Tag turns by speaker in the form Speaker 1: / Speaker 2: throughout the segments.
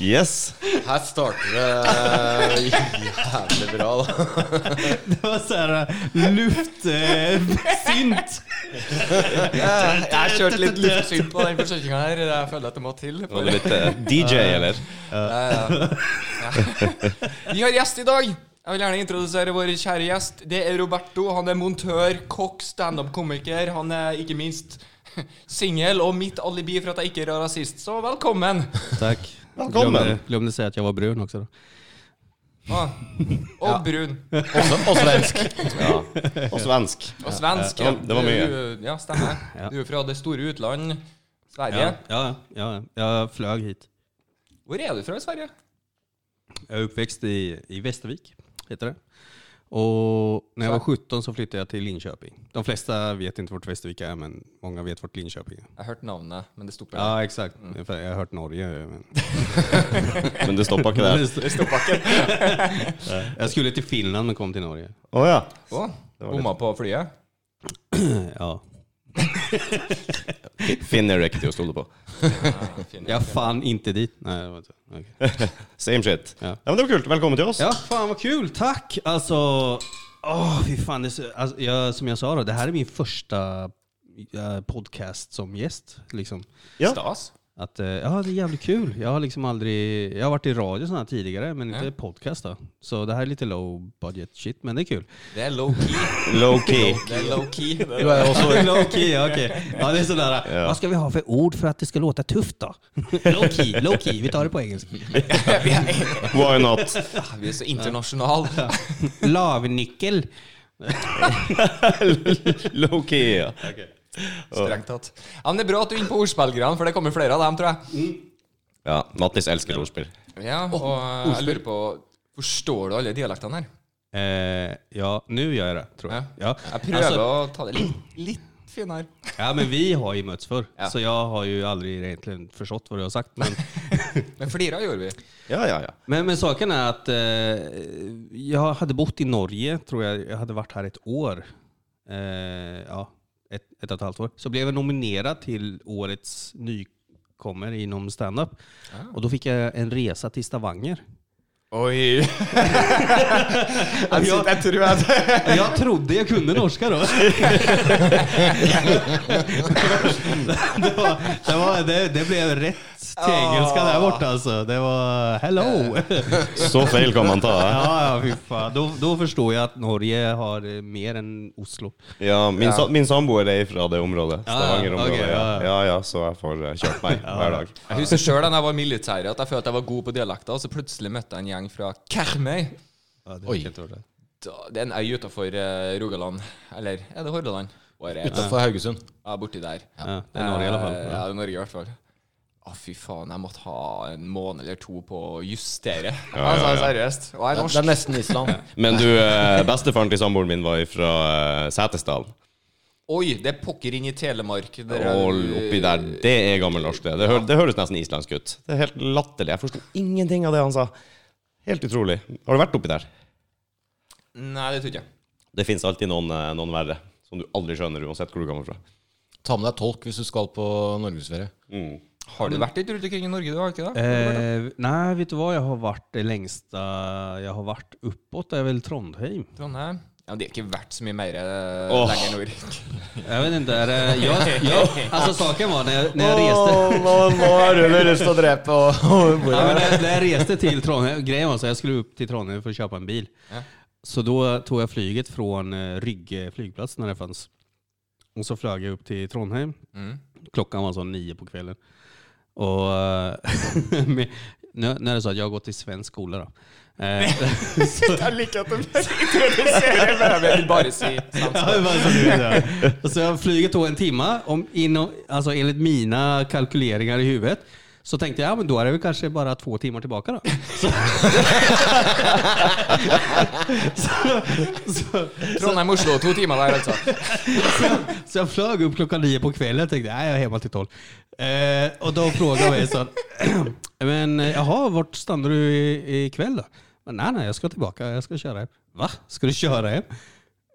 Speaker 1: Yes.
Speaker 2: Her starter det eh, jævlig bra, da.
Speaker 3: Det eh. var sånn luftsynt.
Speaker 4: Jeg har kjørt litt luftsynt på den forsikringa her. Jeg føler at det må til.
Speaker 1: Var det litt eh, DJ, eller?
Speaker 4: Vi har gjest i dag. Jeg vil gjerne introdusere vår kjære gjest. Det er Roberto. Han er montør, kokk, standup-komiker. Han er ikke minst singel og mitt alibi for at jeg ikke er rasist. Så velkommen.
Speaker 3: Takk.
Speaker 1: Velkommen.
Speaker 3: Glömde, glömde säga att jag var brun också. Då.
Speaker 4: Ah. Og brun.
Speaker 2: Også, og svensk.
Speaker 1: Ja. Og svensk.
Speaker 4: Og svensk.
Speaker 1: Ja, det var- det var mye.
Speaker 4: Du- Ja, stemmer.
Speaker 3: Ja.
Speaker 4: Du er fra det store utland.
Speaker 3: Ja,
Speaker 4: Sverige.
Speaker 3: ja, ja, jag flög hit.
Speaker 4: Hvor er du fra i Sverige?
Speaker 3: Jag är uppväxt i, i Västervik, heter det. Och när jag var 17 så flyttade jag till Linköping. De flesta vet inte vart Västervik er, men många vet vart Linköping är.
Speaker 4: Jeg hørte navnet, men det stopper.
Speaker 3: Ja, exakt. För Jag har hört Norge. Men...
Speaker 1: Men det stoppa ikke der.
Speaker 3: jag skulle till Finland men kom till Norge.
Speaker 1: Å ja.
Speaker 4: Å, Bomma på flyet?
Speaker 3: Ja,
Speaker 1: Finn er riktig å stole på.
Speaker 3: jag fann inte dit. Nej, det var inte. okej.
Speaker 1: Same shit.
Speaker 3: Ja.
Speaker 1: Ja, men Det var kult. Velkommen til oss.
Speaker 3: Ja, fan vad kul, tack! Alltså, åh fy fan. Det, är så- alltså, jag, som jag sa då, det här är min första eh, podcast som gäst. Liksom.
Speaker 1: Ja.
Speaker 4: Stas?
Speaker 3: Att, eh, ja, det är jävligt kul. Jag har liksom aldrig, jag har varit i radio sådana här tidigare, men inte podcast då. Så det här är lite low budget shit, men det är kul.
Speaker 4: Det er low-key.
Speaker 1: Low-key.
Speaker 4: Det er low-key.
Speaker 2: Du er også
Speaker 3: low key, okej. Ja, det sånn är sådär.
Speaker 1: Ja.
Speaker 3: Vad ska vi ha för ord för att det ska låta tufft då? low key, low key. Vi tar det på engelska.
Speaker 1: Why not?
Speaker 4: Vi er så internasjonale.
Speaker 3: Lavnyckel.
Speaker 1: Low-key, ja.
Speaker 4: Strengt tatt. Ja, men det er bra at du er inne på ordspillgreiene, for det kommer flere av dem, tror jeg.
Speaker 1: ja. Mattis elsker ordspill.
Speaker 4: Ja, og eh, jeg lurer på Forstår du alle dialektene her?
Speaker 3: Eh, ja, nu gör jag det, tror jag. Ja.
Speaker 4: Jeg prøver
Speaker 3: Alltså,
Speaker 4: å ta det litt, litt finere.
Speaker 3: Ja, men vi har ju mötts förr,
Speaker 4: Ja.
Speaker 3: så jag har ju aldrig egentligen förstått vad du har sagt. Men,
Speaker 4: Men flira gjorde vi.
Speaker 1: Ja, ja, ja.
Speaker 3: men, men saken är att eh, jag hade bott i Norge, tror jag. Jag hade varit här ett år. Eh, ja, ett, ett och ett halvt år. Så blev jag nominerad till årets nykommer inom stand-up. Och då fick jag en resa till Stavanger.
Speaker 2: Oi.
Speaker 3: Jag,
Speaker 2: Jeg tror jeg
Speaker 3: jag trodde jag kunde norska då. det, var, det, var, det, det blev rätt till engelska där borta alltså. Det var hello.
Speaker 1: Så feil kan man ta. eh?
Speaker 3: Ja, ja, fy fan. Då, då förstår jag att Norge har eh, mer än Oslo.
Speaker 1: Ja, min, sa- min samboer er fra det området.
Speaker 3: ja.
Speaker 1: Stavanger-området.
Speaker 3: Ok,
Speaker 1: Ja.
Speaker 3: ja, ja.
Speaker 1: ja, ja, så jeg får eh, kjørt meg hver dag.
Speaker 4: Jeg husker sjøl da jeg var i militæret, at jeg følte jeg var god på dialekter, og så plutselig møtte jeg en gjeng fra Karmøy.
Speaker 3: Ja, det
Speaker 2: Oi.
Speaker 4: Da- Det er en øy utafor Rogaland. Eller er det Hordaland? Hva er det?
Speaker 2: Utafor Haugesund.
Speaker 4: Ja, borti der.
Speaker 3: Ja, det er Norge i alle fall.
Speaker 4: Eh, Ja, det er Norge i hvert fall. Å, fy faen, jeg måtte ha en måned eller to på å justere. Altså, seriøst. Og jeg er
Speaker 2: Det
Speaker 4: norsk.
Speaker 2: er nesten Island.
Speaker 1: Men du, eh, bestefaren til samboeren min var fra eh, Setesdal.
Speaker 4: Oi, det er pokker inn i Telemark. Der er-
Speaker 1: Og oppi der. Det er gammelnorsk, det. Det, hø det høres nesten islandsk ut. Det er helt latterlig. Jeg forsto ingenting av det han sa. Helt utrolig. Har du vært oppi der?
Speaker 4: Nei, det tror jeg ikke.
Speaker 1: Det fins alltid noen, eh, noen verre. Som du aldri skjønner uansett hvor du kommer fra.
Speaker 2: Ta med deg tolk hvis du skal på norgesferie.
Speaker 4: Mm. Har du vært litt rundt omkring i Norge, du? Har du ikke det?
Speaker 3: Eh, nej, vet du vad? Jag har varit det längsta jag har varit uppåt. Det är väl Trondheim.
Speaker 4: Trondheim? Ja, men Det har ikke vært så mye mer eh,
Speaker 1: Åh.
Speaker 4: lenger nord.
Speaker 3: Jag vet inte. Är det, jag, jag, alltså saken var när jag, när jag reste.
Speaker 2: nå, nå har du vel lyst til å drepe og, og
Speaker 3: Ja, men när, när jag reste till Trondheim, grejen var så jag skulle upp till Trondheim för att köpa en bil. Så då tog jag flyget från eh, Rygge flygplats när det fanns. Och så flög jag upp till Trondheim. Klockan var så nio på kvällen. Och eh, med, nu, nu är det så att jag har gått i svensk skola då. Eh,
Speaker 4: Jeg liker at du introduserer meg. Jeg vil bare si sant.
Speaker 3: Ja, det var så du gjorde. Och så flyget tog en timme. Om inom, alltså enligt mina kalkyleringar i huvudet så tänkte jag, ja, men då är det väl kanske bara två timmar tillbaka då. Så, så, så,
Speaker 4: Trondheim-Oslo, to timer der, altså.
Speaker 3: så jag flög upp klockan nio på kvällen och tänkte, nej jag är hemma till tolv. Eh, och då frågade mig så men eh, jaha, vart stannar du i- ikväll då? Men, nej, nej, jag ska tillbaka, jag ska köra hem. Va? Ska du köra hem?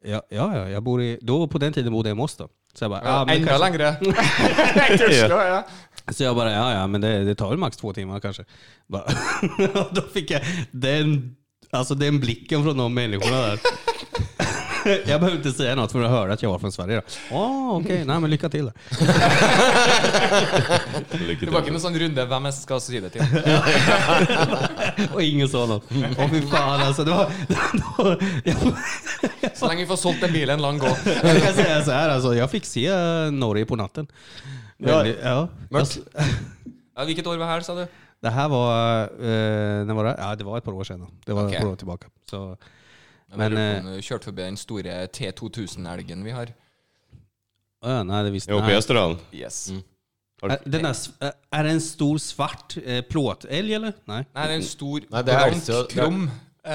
Speaker 3: Ja, ja, ja jag bor i, då på den tiden bodde jag i Mosta. Så jag bara, ja, men
Speaker 4: Enda
Speaker 3: kanske,
Speaker 4: lengre. Til Oslo, ja.
Speaker 3: så jag bara, ja, ja, men det, det tar väl max två timmar kanske. Bara, och då fick jag den, alltså den blicken från de människorna där. Jag behöver inte säga något för att höra att jag var från Sverige. då. Åh, okej. Nej, men lycka till. då.
Speaker 1: Lykke
Speaker 4: Det var ikke
Speaker 1: til.
Speaker 4: noen sånn runde hvem jeg skal si det til.
Speaker 3: Och ingen sa något. Åh, fy fan alltså. Det var, jag,
Speaker 4: Så lenge vi får solgt den bilen, la den gå.
Speaker 3: jag kan säga så altså. här alltså. Jag fick se eh, Norge på natten. Ja. ja. Jag,
Speaker 4: Ja, hvilket år var her, sa du?
Speaker 3: Det här var, eh, när var det? Ja, det var ett par år sedan. då. Det var
Speaker 4: Okej.
Speaker 3: ett par år tillbaka. Så,
Speaker 4: Men,
Speaker 3: men eh,
Speaker 4: du kjørte forbi den store T2000-elgen vi har.
Speaker 3: eh, ja, nej, det visste
Speaker 1: Jeg var på
Speaker 3: jag.
Speaker 1: Østerdalen.
Speaker 4: Yes.
Speaker 3: Är, den där, s- eh, är det en stor svart eh, plåtälg eller? Nej.
Speaker 4: Nei, det er en stor,
Speaker 2: Nei, det er
Speaker 4: blank,
Speaker 2: så- det er-
Speaker 4: krum eh,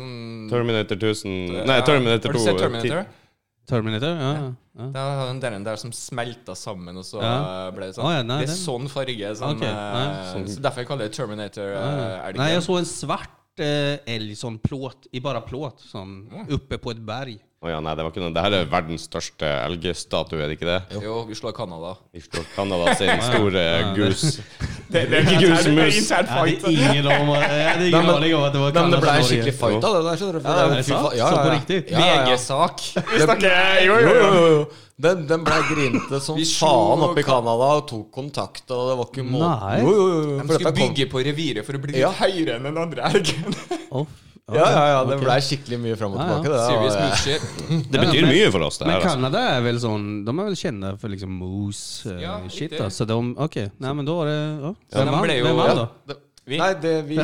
Speaker 4: sånn-
Speaker 1: Terminator 1000 Nei, Terminator
Speaker 4: Har du
Speaker 1: 2.
Speaker 4: sett Terminator?
Speaker 3: Terminator? Ja, ja. ja.
Speaker 4: Det var den der, der som smelta sammen, og så
Speaker 3: Ja.
Speaker 4: eh, ble det sånn.
Speaker 3: Ah, ja, nei,
Speaker 4: det er
Speaker 3: den-
Speaker 4: sånn farge som
Speaker 3: Ok,
Speaker 4: eh,
Speaker 2: sånn-
Speaker 1: nei.
Speaker 4: Så derfor kaller jeg det Terminator eh, elgen.
Speaker 3: Nej, jag såg en svart eh, älg, sån plåt, i bara plåt, sån, uppe på ett berg.
Speaker 1: Å ja, nei, det var ikke noe. Det her er verdens største elgstatue, er det ikke det?
Speaker 4: Jo, vi slår Canada.
Speaker 1: Vi slår Canada sin store gus.
Speaker 4: Det, det
Speaker 1: Ikke gus, mus.
Speaker 3: Jag hade ingen, om, jag hade
Speaker 2: Nej,
Speaker 3: ingen
Speaker 2: men-
Speaker 3: aning om att det var
Speaker 2: Men det
Speaker 3: Kanada
Speaker 2: ble en
Speaker 3: Norge.
Speaker 2: skikkelig fight av det der. skjønner du, for
Speaker 3: Ja,
Speaker 2: det-
Speaker 3: er det
Speaker 2: fy
Speaker 3: sant?
Speaker 2: faen- ja,
Speaker 3: Så på
Speaker 2: ja, ja.
Speaker 3: riktig?
Speaker 2: Ja, ja, ja.
Speaker 4: VG-sak.
Speaker 2: Jo, jo, jo. Den, den ble grinete som
Speaker 4: Vi
Speaker 2: faen
Speaker 4: slo-
Speaker 2: oppe i Canada og tok kontakt, og det var ikke mål.
Speaker 3: Nei.
Speaker 2: Jo, jo, jo.
Speaker 4: De
Speaker 2: For
Speaker 4: skulle
Speaker 2: dette kom.
Speaker 4: bygge på reviret for å bli litt
Speaker 2: Ja.
Speaker 4: høyere enn den andre elgen.
Speaker 3: Åh,
Speaker 2: Ja, ja, ja.
Speaker 3: okej.
Speaker 2: Det ble skikkelig mye fram og
Speaker 3: Ja, ja.
Speaker 2: tilbake. Det,
Speaker 4: Serious
Speaker 2: ja, ja.
Speaker 4: bullshit.
Speaker 1: Det
Speaker 3: Ja,
Speaker 1: betyr
Speaker 3: men-
Speaker 1: mye for oss, det
Speaker 3: Men
Speaker 1: her. altså.
Speaker 3: Kanada är väl sån, de är väl kända för liksom moose eh,
Speaker 4: Ja,
Speaker 3: shit
Speaker 4: riktigt.
Speaker 3: då. Så de, okej, nej men då var det, ja.
Speaker 4: de
Speaker 3: Vem vann,
Speaker 4: blev ju-
Speaker 3: vem vann då?
Speaker 2: Det,
Speaker 4: Vi-
Speaker 2: nei, det vi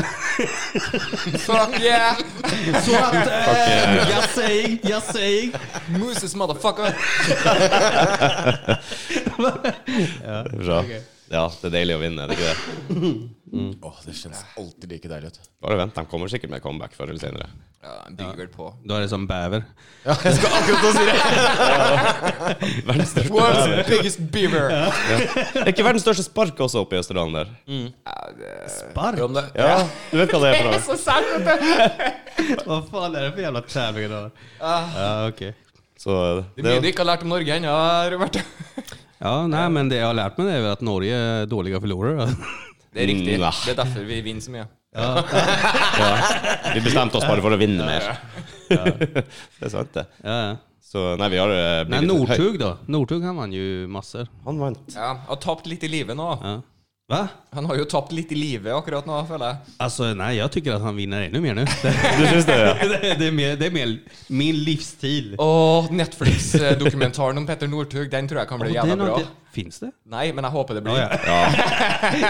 Speaker 4: Fuck yeah!
Speaker 3: Så att,
Speaker 1: eh,
Speaker 3: jag säger, jag säger.
Speaker 4: Mooses motherfucker.
Speaker 1: Bra. Ja, det er deilig å vinne, er det ikke det?
Speaker 2: Åh, det kjennes alltid like deilig ut.
Speaker 1: Bare vent, de kommer sikkert med comeback før eller senere.
Speaker 4: Ja, de bygger vel på.
Speaker 3: Då är det sånn som bäver.
Speaker 2: Ja, jeg skal akkurat å si det!
Speaker 1: Verdens største
Speaker 4: World's biggest beaver.
Speaker 1: Er ikke verdens største spark også oppe i Østerdalen der?
Speaker 2: Jo,
Speaker 3: Barr?
Speaker 2: men det-
Speaker 1: Ja, du vet hva det er for noe?
Speaker 4: Så sant, vet du.
Speaker 3: Vad fan är det för jävla tävling idag? Ja, okej.
Speaker 1: Så
Speaker 4: Det er
Speaker 1: det
Speaker 4: mye du ikke har lært om Norge ennå, Robert.
Speaker 3: Ja, nej men det jag har lärt mig det är väl att Norge är dåliga förlorare.
Speaker 4: Det er riktig.
Speaker 1: Nja.
Speaker 4: Det er derfor vi vinner så mye.
Speaker 1: Vi bestemte oss bare for å vinne mer. Det er sant, det.
Speaker 3: Ja, ja.
Speaker 1: Så nei, vi har eh,
Speaker 3: Nej,
Speaker 1: bygget et høyt-
Speaker 3: Northug då. Northug han vann ju massor.
Speaker 1: Han vant.
Speaker 4: Ja, han har tapt litt i livet nå.
Speaker 3: Ja. Va?
Speaker 4: Han har jo tapt litt i livet akkurat nå, føler jeg.
Speaker 3: Alltså nej, jag tycker att han vinner ännu mer nu. Det,
Speaker 1: Du syns det? Ja.
Speaker 3: det, det, är, mer, det är mer min livsstil.
Speaker 4: Åh, Netflix-dokumentaren om Petter Northug, den tror jeg kan bli
Speaker 3: Och den
Speaker 4: jævla
Speaker 3: har
Speaker 4: bra.
Speaker 3: inte- Finns det?
Speaker 4: Nei, men jeg håper det
Speaker 3: Ja,
Speaker 4: blir.
Speaker 3: ja.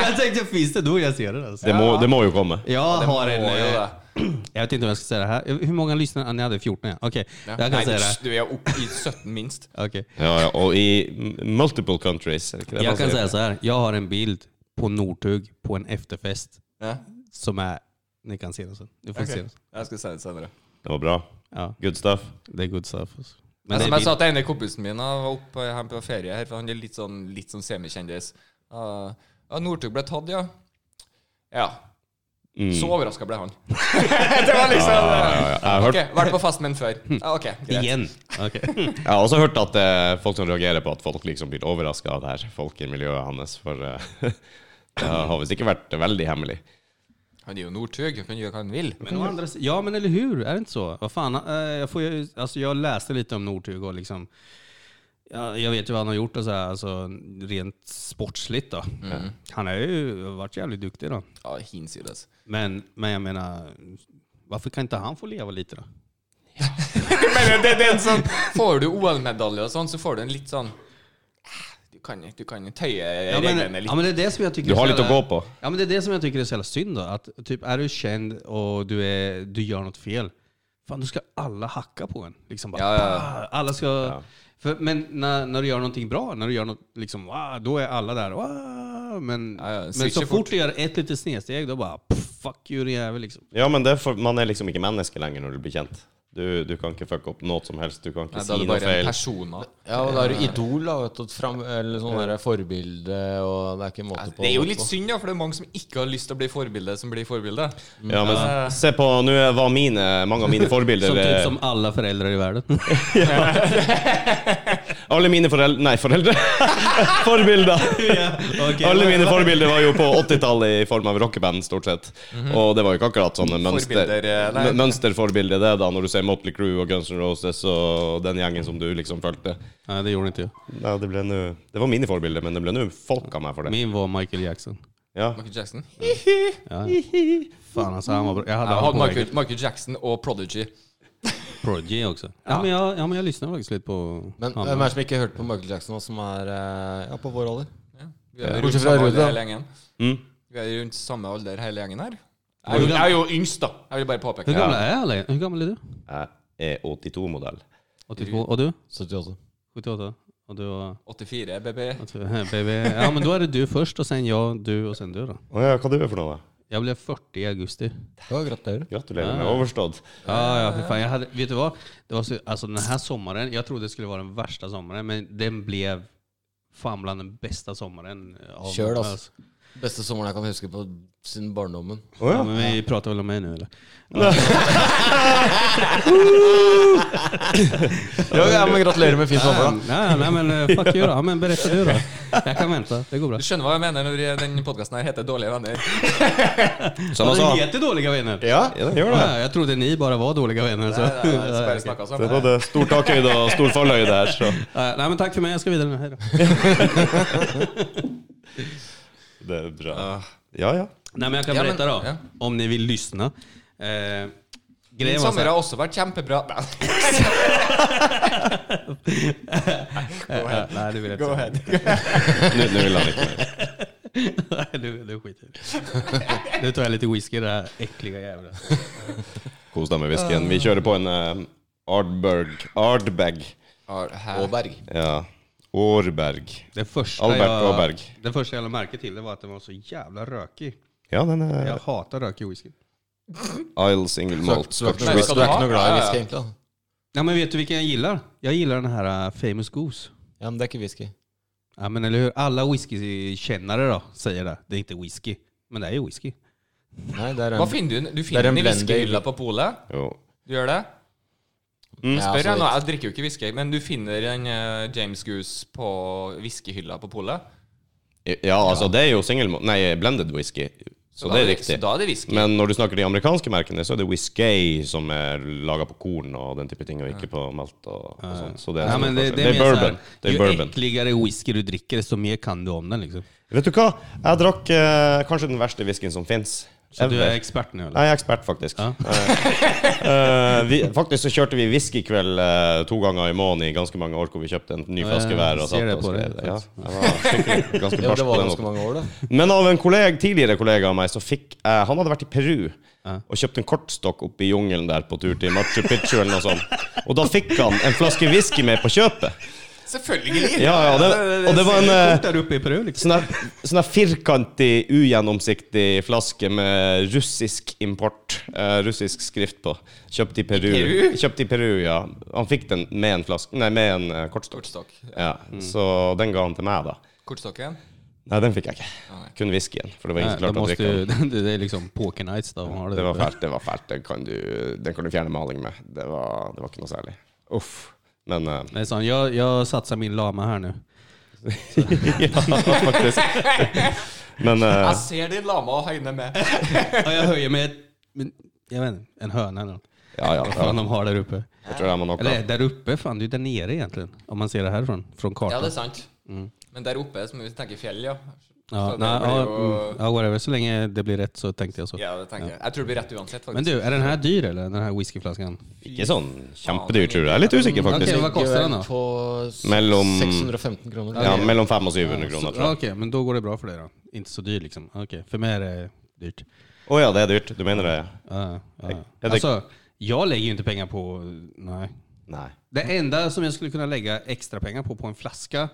Speaker 3: jag tänkte, finns det då jag ser det? Alltså.
Speaker 1: Det må, det må jo komme.
Speaker 3: Jag
Speaker 4: Det
Speaker 3: har en...
Speaker 4: må jo
Speaker 3: eh,
Speaker 4: det.
Speaker 3: Jag vet inte om jag ska säga det här. Hur många lyssnare? Ah, Ni hade 14 ja. Okej,
Speaker 4: Ja.
Speaker 3: jag kan
Speaker 4: Nei,
Speaker 3: säga det.
Speaker 4: du, du er oppe i 17 minst.
Speaker 3: här. Okej.
Speaker 1: Ja, ja, og i m- multiple countries. Er det ikke det man
Speaker 3: Jag kan
Speaker 1: sier?
Speaker 3: säga så här. Jag har en bild på Northug på en efterfest
Speaker 4: Ja.
Speaker 3: som är... Ni kan se den sen. Du får se den. sen.
Speaker 4: Jeg skal si det senere.
Speaker 1: Det var bra.
Speaker 3: Ja,
Speaker 1: Good stuff.
Speaker 3: det är good stuff. altså. Alltså. Men
Speaker 4: Men
Speaker 3: det
Speaker 4: som
Speaker 3: är
Speaker 4: jeg sa
Speaker 3: bild.
Speaker 4: til ene kompisen min, han var oppe her på ferie her, for han er litt sånn, litt sånn semikjendis. Ah, ja, Northug ble tatt, ja. Ja.
Speaker 1: Mm.
Speaker 4: Så overraska ble han. det var liksom
Speaker 1: Ja, ja, jeg har
Speaker 4: Ok,
Speaker 1: hørt, Hm.
Speaker 4: vært på fest med den før. Ja, ok, greit.
Speaker 3: Igen. Okej.
Speaker 1: jeg har også hørt at eh, folk som reagerer på at folk liksom blir overraska av det her, folk i miljøet hans, for eh, det har visst ikke vært veldig hemmelig.
Speaker 4: Han er jo Northug, han kan gjøre hva han vil.
Speaker 3: Men å andra, si- ja, men eller hur? Är det inte så? Vad fan, eh, jag, får ju, alltså, jag läste lite om Northug och liksom, ja, jag vet ju vad han har gjort och så här, alltså, rent sportsligt. Då.
Speaker 1: Mm.
Speaker 3: Han har ju varit jävligt duktig. Då.
Speaker 4: Ja, hinsides.
Speaker 3: Men, men jag menar, varför kan inte han få leva lite då?
Speaker 4: Men det, det er en sånn Får du OL-medalje og sånn, så får du en litt sånn Du kan, du kan tøye
Speaker 3: Ja, men,
Speaker 4: reglene litt.
Speaker 3: ja, men det är det som jag tycker
Speaker 1: Du
Speaker 3: är
Speaker 1: har
Speaker 3: så
Speaker 1: lite att
Speaker 3: jävla-
Speaker 1: gå på.
Speaker 3: Ja, men det är det som jag tycker är så jävla synd. Då, att, typ, är du känd och du, är, du gör något fel, fan då ska alla hacka på en. Liksom bara,
Speaker 4: Ja, ja.
Speaker 3: "Bah!" Alla ska, för, men när, när du gör någonting bra, när du gör något, liksom, "Wow", då är alla där. "Wow", Men,
Speaker 4: Ja, ja,
Speaker 3: men
Speaker 4: switcha
Speaker 3: så fort du gör ett litet snedsteg, då bara "Pff, fuck you din jävel. Liksom.
Speaker 1: Ja, men det er for, man er liksom ikke menneske lenger når du blir kjent. Du, du kan ikke fucke opp noe som helst. Du kan ikke
Speaker 4: Nei, da
Speaker 1: si
Speaker 4: er det
Speaker 1: noe
Speaker 4: bare en
Speaker 1: feil.
Speaker 4: persona.
Speaker 2: Ja, og da er du idol, da, vet du. et Fram, eller sånn derre forbilde, og det er ikke
Speaker 1: Altså,
Speaker 2: måte på.
Speaker 4: Det er jo litt synd, da, for det er mange som ikke har lyst til å bli forbilde, som blir forbilde.
Speaker 1: Ja, men se på Nå var mine, mange av mine forbilder
Speaker 3: Som typ
Speaker 1: eh,
Speaker 3: som alla föräldrar i världen.
Speaker 1: Alle mine foreldre Nei, foreldre! forbilder!
Speaker 3: Okej,
Speaker 1: Alle
Speaker 3: men-
Speaker 1: mine forbilder var jo på 80-tallet i form av rockeband, stort sett. Og det var jo ikke akkurat sånne mønster,
Speaker 4: Mhm. Forbilder, eh, nei.
Speaker 1: mø- mønsterforbilder, det, da, når du ser Motley Crew og Guns N' Roses og den gjengen som du liksom fulgte.
Speaker 3: Nej, det gjorde inte jag.
Speaker 1: Ja, det ble nå Det var mine forbilder, men det ble nå folk av meg for det.
Speaker 3: Min var Michael Jackson.
Speaker 1: Ja.
Speaker 4: Michael Jackson.
Speaker 3: Ja. Fan alltså, han var bra. Jag hade
Speaker 4: Jeg
Speaker 3: han
Speaker 4: hadde
Speaker 3: på
Speaker 4: Michael,
Speaker 3: väggen.
Speaker 4: Michael Jackson og Prodigy.
Speaker 3: Prodigy också. Ja, men jag, ja, men jag lyssnade faktiskt lite på
Speaker 2: Men
Speaker 3: han.
Speaker 2: hvem er det som ikke har hørt på Michael Jackson, og som er eh, ja, på vår alder?
Speaker 4: Vi er rundt
Speaker 2: Bortsett fra
Speaker 4: samme
Speaker 2: Rude, da.
Speaker 4: alder hele gjengen.
Speaker 1: Mm.
Speaker 4: Vi er rundt samme alder hele gjengen her.
Speaker 3: Hvor
Speaker 4: Jeg er jo-
Speaker 3: gammel-
Speaker 4: jeg er jo yngst, da. Jeg vil bare påpeke
Speaker 3: Hur
Speaker 4: det.
Speaker 3: gamla är alla? Hur gammal är du?
Speaker 1: Jeg er 82-modell.
Speaker 3: 82. Och du?
Speaker 2: 78.
Speaker 3: 78. Och du var...
Speaker 4: 84, baby.
Speaker 3: att- Baby. Ja men då är det du först och sen jag, du och sen du då.
Speaker 1: Å ja, hva du er for noe?
Speaker 3: Jag blev 40 i augusti.
Speaker 2: Ja, gratulerer.
Speaker 1: Gratulerer med overstått.
Speaker 3: Ja, ja, för fan. Jag hade, vet du vad? Det var så, altså, alltså den här sommaren, jag trodde det skulle vara den värsta sommaren, men den blev fan bland den bästa sommaren. Av,
Speaker 2: Kör då.
Speaker 4: altså.
Speaker 2: altså. Beste sommeren jeg kan huske på siden barndommen.
Speaker 1: Å
Speaker 3: Ja,
Speaker 1: ja.
Speaker 3: altså. men vi pratar väl om mig nu eller?
Speaker 2: Ja, ja, men Gratulerer med fin sommer, da.
Speaker 3: Nej, nej men eh, fuck you då. Ja, men berätta du då. Jag kan vänta, det går bra.
Speaker 4: Du skjønner hva jeg mener når den podkasten her heter Dårlige venner.
Speaker 1: Som
Speaker 3: Ja,
Speaker 1: jeg sa.
Speaker 3: det heter dåliga vänner.
Speaker 2: Ja,
Speaker 1: Ja, det gjør det.
Speaker 3: Ja, jeg trodde ni bare var dåliga vänner. Så.
Speaker 4: Nei, nei, nei, så bare snakket
Speaker 1: Det er
Speaker 4: sammen.
Speaker 1: både stor takhøyde og stor fallhøyde her, så
Speaker 3: Ja, nej, men tack för mig, jag ska vidare nu. Hej då.
Speaker 1: det er bra. Ja, ja.
Speaker 3: Nej, men jag kan
Speaker 4: Ja, men-
Speaker 3: berätta då,
Speaker 4: ja.
Speaker 3: om ni vill lyssna. Eh,
Speaker 4: Min
Speaker 3: grejen var altså- så
Speaker 4: sommer
Speaker 3: här,
Speaker 4: har også vært kjempebra. Nei,
Speaker 3: Ja, nej, det vill jag inte
Speaker 4: Go
Speaker 3: säga.
Speaker 4: ahead.
Speaker 1: Nå nå vil han ikke mer.
Speaker 3: Nej, nu, nu skiter jag i det. Nu tar jag lite whisky det här äckliga jävla.
Speaker 1: Kos deg med whiskyen. Vi kjører på en eh, Ardberg Ardbag.
Speaker 4: Har- hæ?
Speaker 2: Aaberg.
Speaker 1: Ja. Årberg.
Speaker 3: Det första,
Speaker 1: Albert
Speaker 3: jag,
Speaker 1: Åberg.
Speaker 3: det första jag lade mærke till det var att den var så jävla rökig.
Speaker 1: Ja, den er
Speaker 3: Jag hatar rökig whisky.
Speaker 1: Isle Single Malt.
Speaker 2: Så du er ikke
Speaker 4: Nei,
Speaker 2: noe glad- du
Speaker 4: skal du
Speaker 2: er
Speaker 4: ha?
Speaker 2: ikke noe glad i
Speaker 4: Ja, ja.
Speaker 2: whisky, egentlig? da
Speaker 3: Ja, men vet du vilken jag gillar? Jag gillar den här äh, Famous Goose.
Speaker 2: Ja, men det er ikke whisky.
Speaker 3: Ja, men eller hur? Alla whiskykännare då säger det. Det är inte whisky. Men det är ju whisky.
Speaker 2: Nei, det er en
Speaker 4: Hva finner du? Du
Speaker 2: Det
Speaker 4: finner
Speaker 2: er en
Speaker 4: den i
Speaker 2: blender.
Speaker 4: whiskyhylla på polet.
Speaker 1: Jo.
Speaker 4: Du gjør det?
Speaker 2: Ja,
Speaker 4: Spør
Speaker 2: altså,
Speaker 4: jeg nå, jeg drikker jo ikke whisky, men du finner den eh, James Goose på whiskyhylla på polet?
Speaker 1: Ja, altså, det er jo single malt Nei, blended whisky. Så
Speaker 4: da
Speaker 1: det er
Speaker 4: Så
Speaker 1: riktig.
Speaker 4: da er det whisky.
Speaker 1: Men når du snakker de amerikanske merkene, så er det whisky som er laga på korn og den type ting, og ikke på malt og, og sånt. Så det er,
Speaker 3: Ja, men det, sånn- det,
Speaker 1: det er
Speaker 3: mer så här,
Speaker 1: bourbon. Det er
Speaker 3: Ju
Speaker 1: bourbon.
Speaker 3: äckligare whisky du dricker, desto mer kan du om den liksom.
Speaker 1: Vet du hva? Jeg drakk eh, kanskje den verste whiskyen som fins.
Speaker 3: Så du er ekspert nu eller?
Speaker 1: Jeg er ekspert, faktisk. Eh, eh, vi, faktisk så kjørte vi whiskykveld eh, to ganger i måneden i ganske mange år, hvor vi kjøpte en ny
Speaker 3: Ja,
Speaker 1: flaske hver. Og
Speaker 3: ser
Speaker 1: satt
Speaker 3: det
Speaker 1: og
Speaker 3: på
Speaker 1: skrev
Speaker 3: deg,
Speaker 1: det. Ja, jeg var skikkelig ganske
Speaker 2: Ja, men
Speaker 1: barsk
Speaker 2: det
Speaker 1: på
Speaker 2: var
Speaker 1: den
Speaker 2: ganske
Speaker 1: måten.
Speaker 2: mange år, det.
Speaker 1: Men av en kolleg, tidligere kollega av meg så fikk eh, Han hadde vært i Peru og kjøpt en kortstokk oppe i jungelen der på tur til Machu Picchu eller noe sånt. Og da fikk han en flaske whisky med på kjøpet.
Speaker 4: Selvfølgelig!
Speaker 1: Ja, ja, det, og det var en eh,
Speaker 3: Fort där uppe i Peru liksom.
Speaker 1: Sånn der, sånn der firkantig, ugjennomsiktig flaske med russisk import. eh, russisk skrift på. Kjøpt i Peru.
Speaker 4: Peru?
Speaker 1: Kjøpt i Peru, ja. Han fikk den med en flaske Nei, med en eh, kortstokk. Mm.
Speaker 4: Kortstokk.
Speaker 1: Ja, Så den ga han til meg, da.
Speaker 4: Kortstokken.
Speaker 1: Nei, den fikk jeg ikke.
Speaker 4: nei.
Speaker 1: Kun whiskyen. For det var ingen
Speaker 3: Nej,
Speaker 1: som
Speaker 3: då
Speaker 1: klarte å
Speaker 3: måste
Speaker 1: drikke
Speaker 3: ju,
Speaker 1: den.
Speaker 3: det är liksom poker nights då. Har
Speaker 1: Det var fælt. det var fælt. Den kan du, den kan du fjerne maling med. Det var, det var ikke noe særlig. Uff. Men eh,
Speaker 3: Nej, sån, jag, jag satsar min lama här nu.
Speaker 1: Ja, faktisk. Men eh,
Speaker 4: Jeg ser din lama og høyner med.
Speaker 3: Ja, jag höjer med, ett- men, jag vet inte, en höna eller något.
Speaker 1: ja, ja.
Speaker 3: Vad
Speaker 1: ja.
Speaker 3: fan de har där uppe.
Speaker 1: Jeg tror det må nok av.
Speaker 3: Eller där uppe, fan det är ju där nere egentligen. Om man ser det härifrån, från
Speaker 4: Ja,
Speaker 3: kartan.
Speaker 4: det er sant. Men der oppe, som vi tenker fjell, ja.
Speaker 3: Ja,
Speaker 4: Så det
Speaker 3: nej,
Speaker 4: blir
Speaker 3: ja,
Speaker 4: jo-
Speaker 3: mm, ja, whatever. Så länge det blir rätt så tänkte jag så.
Speaker 4: Ja, det tenker jeg. Jeg tror det blir rett uansett, faktisk.
Speaker 3: Men du, är den här dyr eller? Den här whiskyflaskan?
Speaker 1: Ikke sånn kjempedyr, tror jeg. Jeg er litt usikker,
Speaker 3: Ok,
Speaker 1: faktisk.
Speaker 3: hva koster den da?
Speaker 2: På s-
Speaker 1: Mellom-
Speaker 2: 615 kroner.
Speaker 1: Ja, Mellom 500 og 700 kroner, tror
Speaker 3: Ja,
Speaker 1: jeg.
Speaker 3: Okej, men då går det bra för dig då? Inte så dyr liksom? Okej, för mig är det dyrt.
Speaker 1: Å ja, det er dyrt. Du mener det?
Speaker 3: Ja, ja.
Speaker 1: det-
Speaker 3: Alltså, jag lägger ju inte pengar på... Nej.
Speaker 1: Nei.
Speaker 3: Det enda som jag skulle kunna lägga extra pengar på, på en flaska,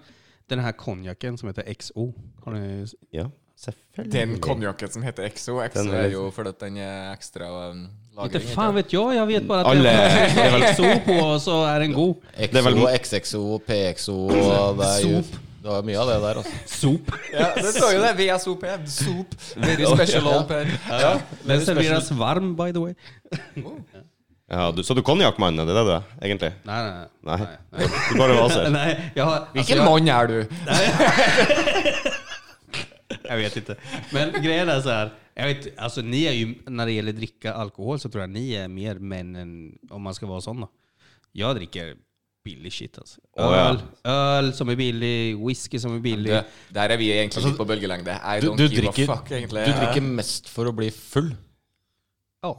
Speaker 3: den här konjaken som heter XO. Har ni
Speaker 1: Ja. Selvfølgelig.
Speaker 4: Den konjakken som heter Exo. Exo
Speaker 1: Den er
Speaker 4: er
Speaker 1: litt-
Speaker 4: jo fordi at den er ekstra um,
Speaker 3: Inte
Speaker 4: lagring.
Speaker 3: fan vet jag, jag vet bara att
Speaker 1: Alle-
Speaker 3: det är väl so på och så är den god.
Speaker 1: Det er vel-
Speaker 2: XO, XXO, PXO og det er jo, Det var mye av det der, altså.
Speaker 3: Sop.
Speaker 4: Ja, det står jo det. VSOP. Sop. Very special old pen. Ja.
Speaker 3: Den serveras varm by the way.
Speaker 1: Ja, du, så du konjakkmannen, er det det du er, egentlig?
Speaker 3: Nej, nej, nej.
Speaker 1: Nei. Du bare vaser.
Speaker 3: nej jag, har, alltså,
Speaker 4: Hvilken
Speaker 3: jag,
Speaker 4: mann er du?
Speaker 3: jag vet inte. Men grejen är så här. Jag vet, alltså, ni är ju, när det gäller dricka alkohol så tror jag ni är mer män än om man ska vara sån då. Jag dricker billig shit alltså.
Speaker 1: Åh, ja.
Speaker 3: Öl, öl som är billig, whisky som är billig.
Speaker 4: Du, Der er vi egentlig litt på bølgelengde. I
Speaker 2: Du,
Speaker 4: don't
Speaker 2: du,
Speaker 4: give
Speaker 2: drikker,
Speaker 4: a fuck, egentlig.
Speaker 2: du drikker mest for å bli full.
Speaker 3: Ja.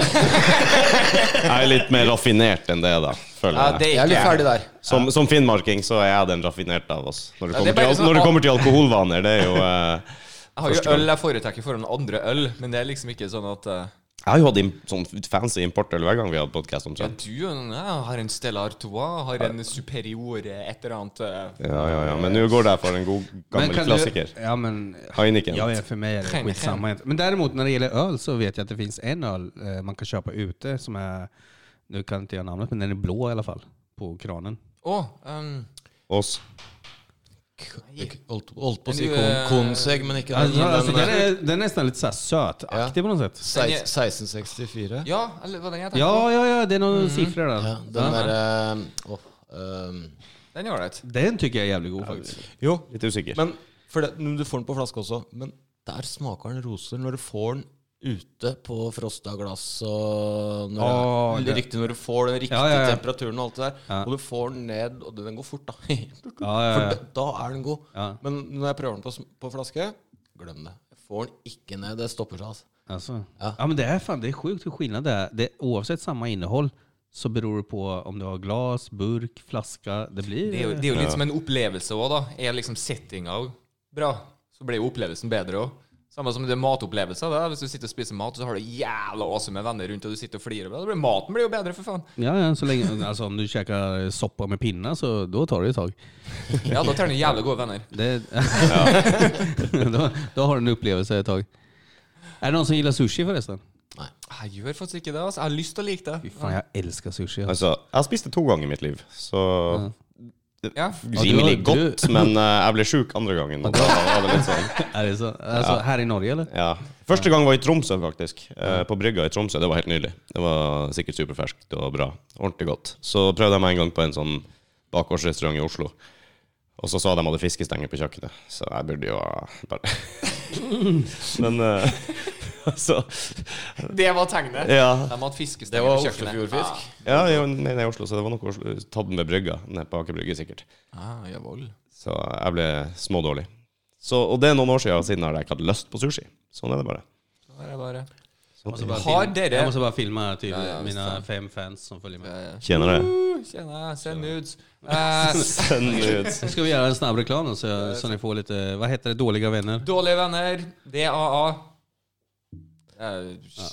Speaker 1: Jeg er litt mer raffinert enn det, da.
Speaker 4: ja,
Speaker 1: Føler
Speaker 4: det er
Speaker 1: jeg.
Speaker 2: Jeg er
Speaker 4: ikke
Speaker 2: litt ferdig der.
Speaker 1: Som, som finnmarking så er jeg den raffinerte av oss. Når det
Speaker 4: Ja, det er
Speaker 1: kommer,
Speaker 4: bare
Speaker 1: til, al-
Speaker 4: sånn-
Speaker 1: når det kommer til alkoholvaner, det er jo eh,
Speaker 4: Jeg har
Speaker 1: Første
Speaker 4: jo
Speaker 1: gang.
Speaker 4: øl jeg foretrekker foran andre øl, men det er liksom ikke sånn at eh,
Speaker 1: Jeg har jo hatt im- sånn fancy importøl hver gang vi har hatt podkast
Speaker 4: ja,
Speaker 1: omtrent.
Speaker 4: du ja, har en Stella Artois, har en Superiore et eller annet eh,
Speaker 1: Ja, ja, ja. Men nå går det for en god gammel
Speaker 3: kan
Speaker 1: klassiker.
Speaker 3: Du, ja, men,
Speaker 1: Heineken.
Speaker 3: ja, ja, för mig är det
Speaker 4: Heineken.
Speaker 3: skitsamma. Men däremot när det gäller öl så vet jag att det finns en öl eh, man kan köpa ute som är, nu kan inte jag namnet, men den är blå i alla fall på kranen.
Speaker 4: Å! um,
Speaker 1: Oss.
Speaker 2: Holdt, holdt på å si
Speaker 4: Men du,
Speaker 2: kon,
Speaker 4: eh, altså,
Speaker 2: konseg, men eh, ikke
Speaker 3: Alltså, alltså,
Speaker 2: den,
Speaker 3: den, är, den är nästan lite så här sötaktig på något sätt.
Speaker 2: sei- 1664.
Speaker 4: ja, eller hva den heter?
Speaker 3: Ja, ja, ja, det är någon siffror där.
Speaker 2: Ja, den
Speaker 5: eh,
Speaker 2: derre Åh. ehm,
Speaker 4: Den er ålreit.
Speaker 3: Den tycker jeg är jävligt god faktiskt.
Speaker 2: Jo,
Speaker 1: Litt usikker.
Speaker 2: men for det, men du får den på flaske også. Men der smaker den roser når du får den ute på frosta glass og når
Speaker 3: Åh,
Speaker 2: det,
Speaker 3: det-
Speaker 2: Riktig når du får den riktige
Speaker 3: Ja, ja, ja.
Speaker 2: temperaturen og alt det der. Og du får den ned, og den går fort, da.
Speaker 3: Ja, ja,
Speaker 2: For
Speaker 3: ja.
Speaker 2: da, da er den god.
Speaker 3: Ja.
Speaker 2: Men når jeg prøver den på, s- på flaske, glem det. Jeg får den ikke ned. Det stopper seg, altså.
Speaker 3: Alltså. Ja. men det är fan, det är sjukt hur skillnad det är. Det, oavsett samma innehåll så beror det på om du har glas, burk, flaska. Det blir...
Speaker 4: Det er jo, det er jo litt som en opplevelse òg, da. Er liksom settinga bra, så blir jo opplevelsen bedre òg. Samme som det er matopplevelser. da. Hvis du sitter og spiser mat, så har du jævla awesome med venner rundt, og du sitter og flirer. Da blir maten blir jo bedre, for faen.
Speaker 3: Ja, ja, så länge, alltså, om du käkar soppa med pinna så då tar det ett tag.
Speaker 4: Ja, da tar du jævla gode venner.
Speaker 3: Det, då, då har du en upplevelse ett tag. Är det någon som gillar sushi förresten?
Speaker 4: Jeg gjør faktisk ikke det. altså. Jeg har lyst til å like
Speaker 3: Fy
Speaker 4: det.
Speaker 3: fan, jag älskar sushi. Alltså.
Speaker 1: Altså, jeg har spist det to ganger i mitt liv, så
Speaker 4: Ja.
Speaker 1: Rimelig
Speaker 3: Ja, du-
Speaker 1: godt, men eh, jeg ble sjuk andre gangen. Og da var det litt sånn
Speaker 3: Är det så? Alltså, Här i Norge eller?
Speaker 1: Ja. Første gang var i Tromsø, faktisk. Eh, På brygga i Tromsø. Det var helt nydelig. Det var sikkert superferskt og bra. Ordentlig godt. Så prøvde jeg meg en gang på en sånn bakgårdsrestaurant i Oslo. Og så sa de hadde fiskestenger på kjøkkenet, så jeg burde jo ha bare Men eh, altså
Speaker 4: Det var tegnet.
Speaker 1: Ja.
Speaker 4: De hadde fiskestenger
Speaker 2: Det var
Speaker 4: på kjøkkenet.
Speaker 2: Oslofjordfisk.
Speaker 1: ja jo, nei, nei, Oslo, så det var noe Oslo- tatt med brygga nede på Aker Brygge, sikkert.
Speaker 4: Ah, ah, jawohl.
Speaker 1: Så jeg ble smådårlig. Så, og det er noen år siden, siden har jeg ikke hatt lyst på sushi. Sånn er det bare.
Speaker 4: Så er det bare.
Speaker 3: Jag måste bara
Speaker 4: Har
Speaker 3: filma-
Speaker 4: dere-
Speaker 3: Jag måste bara filma till
Speaker 4: Ja, ja,
Speaker 3: mina fem fans som följer med.
Speaker 1: Kjenner det.
Speaker 4: Uh, Tjena, send nudes. Eh,
Speaker 1: Send ut.
Speaker 3: Nu ska vi göra en snabb reklam så, så ni får lite, vad heter det, dåliga vänner?
Speaker 4: dårlige venner, DAA. Eh,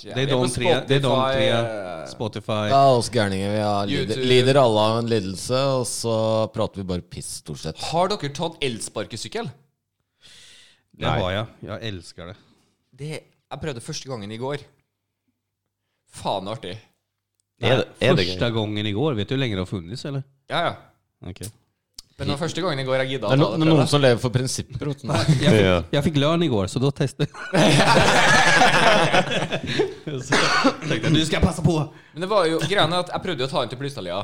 Speaker 3: det er
Speaker 4: vi
Speaker 3: de
Speaker 4: på
Speaker 3: tre- det er de
Speaker 4: Spotify,
Speaker 3: tre.
Speaker 4: eh,
Speaker 3: Spotify.
Speaker 2: Ja, oss gærninger. Vi har lider,
Speaker 4: YouTube.
Speaker 2: lider alle av en lidelse, og så prater vi bare piss, stort sett.
Speaker 4: Har dere tatt elsparkesykkel?
Speaker 3: Det har jag. Jag älskar det.
Speaker 4: Det jeg prøvde første gangen i går. Faen artig.
Speaker 1: Er det, er det gøy?
Speaker 3: Första gången igår, vet du hur länge det har funnits eller?
Speaker 4: Ja, ja.
Speaker 3: Okej.
Speaker 4: Men den første gangen i går jeg gidda
Speaker 2: Det
Speaker 4: å
Speaker 2: er,
Speaker 4: ta
Speaker 2: no,
Speaker 4: det
Speaker 2: det er noen
Speaker 4: prøvet.
Speaker 2: som lever for prinsipper. vet du. Nei.
Speaker 3: Jag fick,
Speaker 1: Ja.
Speaker 3: jag fick lön igår, så då testade jag. Så jag tänkte, nu ska jag passa på.
Speaker 4: Men det var jo greia er at jeg prøvde å ta den til Plystallia.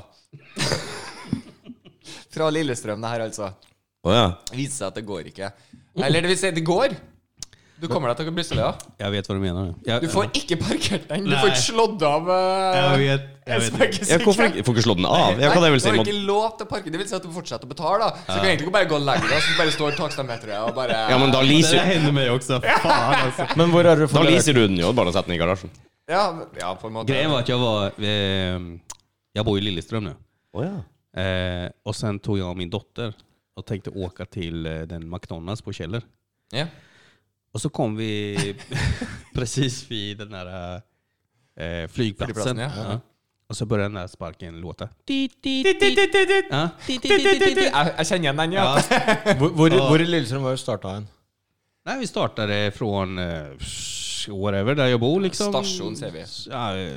Speaker 4: Fra Lillestrøm, det her, altså.
Speaker 1: Å ja.
Speaker 4: Det viser seg at det går ikke. Eller det vil si, det går. Du kommer deg til Plystallia.
Speaker 3: Jag vet vad du mener. Jag,
Speaker 4: Du får ikke parkert den. Du
Speaker 3: Nei.
Speaker 4: får ikke slått av
Speaker 3: jag
Speaker 4: eh,
Speaker 3: vet, jag vet.
Speaker 1: Ja, hvorfor
Speaker 4: elsparkesykkelen.
Speaker 1: ikke? Får ikke slå den av? Ja, hva det
Speaker 4: Nei,
Speaker 1: vil si?
Speaker 4: Du har
Speaker 1: Må,
Speaker 4: ikke lov til å parke. Det vil si at du fortsetter å betale. da Så du kan egentlig ikke bare gå og legge deg, så bare står takstameteret og bare
Speaker 1: ja, men da
Speaker 3: Det där
Speaker 1: leaser,
Speaker 3: hände mig också. Fan alltså.
Speaker 2: Men hvor har du
Speaker 1: da
Speaker 2: fått levert?
Speaker 1: leaser du den jo, bare å sette den i garasjen.
Speaker 4: Ja, men- ja, på en måte.
Speaker 3: Grejen var att jag var... Eh, jag bor i Lilleström nu.
Speaker 1: Oh, ja.
Speaker 3: Eh, och sen tog jag min dotter och tänkte åka till eh, den McDonalds på Kjeller.
Speaker 4: Ja.
Speaker 3: Och så kom vi precis vid den där eh, flygplatsen.
Speaker 4: Flygplatsen, ja.
Speaker 3: Ja. Och så började den där sparken låta. Ja.
Speaker 4: Jeg, jeg kjenner igjen den, ja.
Speaker 2: Hvor, hvor, hvor i Lillestrøm var det starta hen?
Speaker 3: Nej, vi startade från eh, whatever, där jag bor liksom.
Speaker 4: Station säger vi.
Speaker 3: Ja, eh,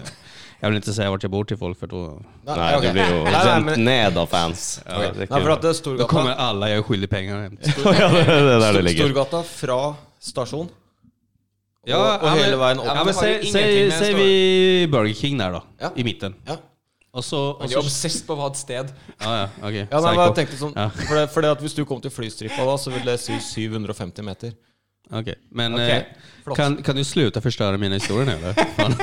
Speaker 3: jag vill inte säga vart jeg bor til folk, for da
Speaker 1: Nei,
Speaker 2: ok.
Speaker 1: du blir jo
Speaker 2: Nei, nei,
Speaker 1: sendt
Speaker 2: men-
Speaker 1: ned av fans. Ja, det er
Speaker 2: Nei,
Speaker 1: ikke-
Speaker 2: for at det er
Speaker 3: Da
Speaker 2: Storgata.
Speaker 3: kommer alle jeg er skyldig penger hjem.
Speaker 1: Ja, det er der det ligger.
Speaker 2: Storgata fra stasjon.
Speaker 3: Ja,
Speaker 2: og
Speaker 3: ja, men-
Speaker 2: hele veien opp.
Speaker 3: Ja,
Speaker 4: Men det
Speaker 3: men
Speaker 4: har jo
Speaker 3: säg,
Speaker 4: ingenting med stor-
Speaker 3: vi Burger King der, da.
Speaker 2: Ja.
Speaker 3: I midten.
Speaker 2: Ja.
Speaker 3: Og så, og
Speaker 4: Han er
Speaker 3: så
Speaker 4: obsess på å ha et sted.
Speaker 3: Ja, ja,
Speaker 2: Ja,
Speaker 3: ok.
Speaker 2: nei, men jeg
Speaker 3: Psycho.
Speaker 2: tenkte sånn
Speaker 3: Ja.
Speaker 2: for, det, for det at Hvis du kom til flystripa da, så ville jeg si 750 meter.
Speaker 3: Ok, Men
Speaker 2: Ok,
Speaker 3: eh,
Speaker 2: flott.
Speaker 3: kan, kan du slutte å forstørre mine historier nå, eller? Fan.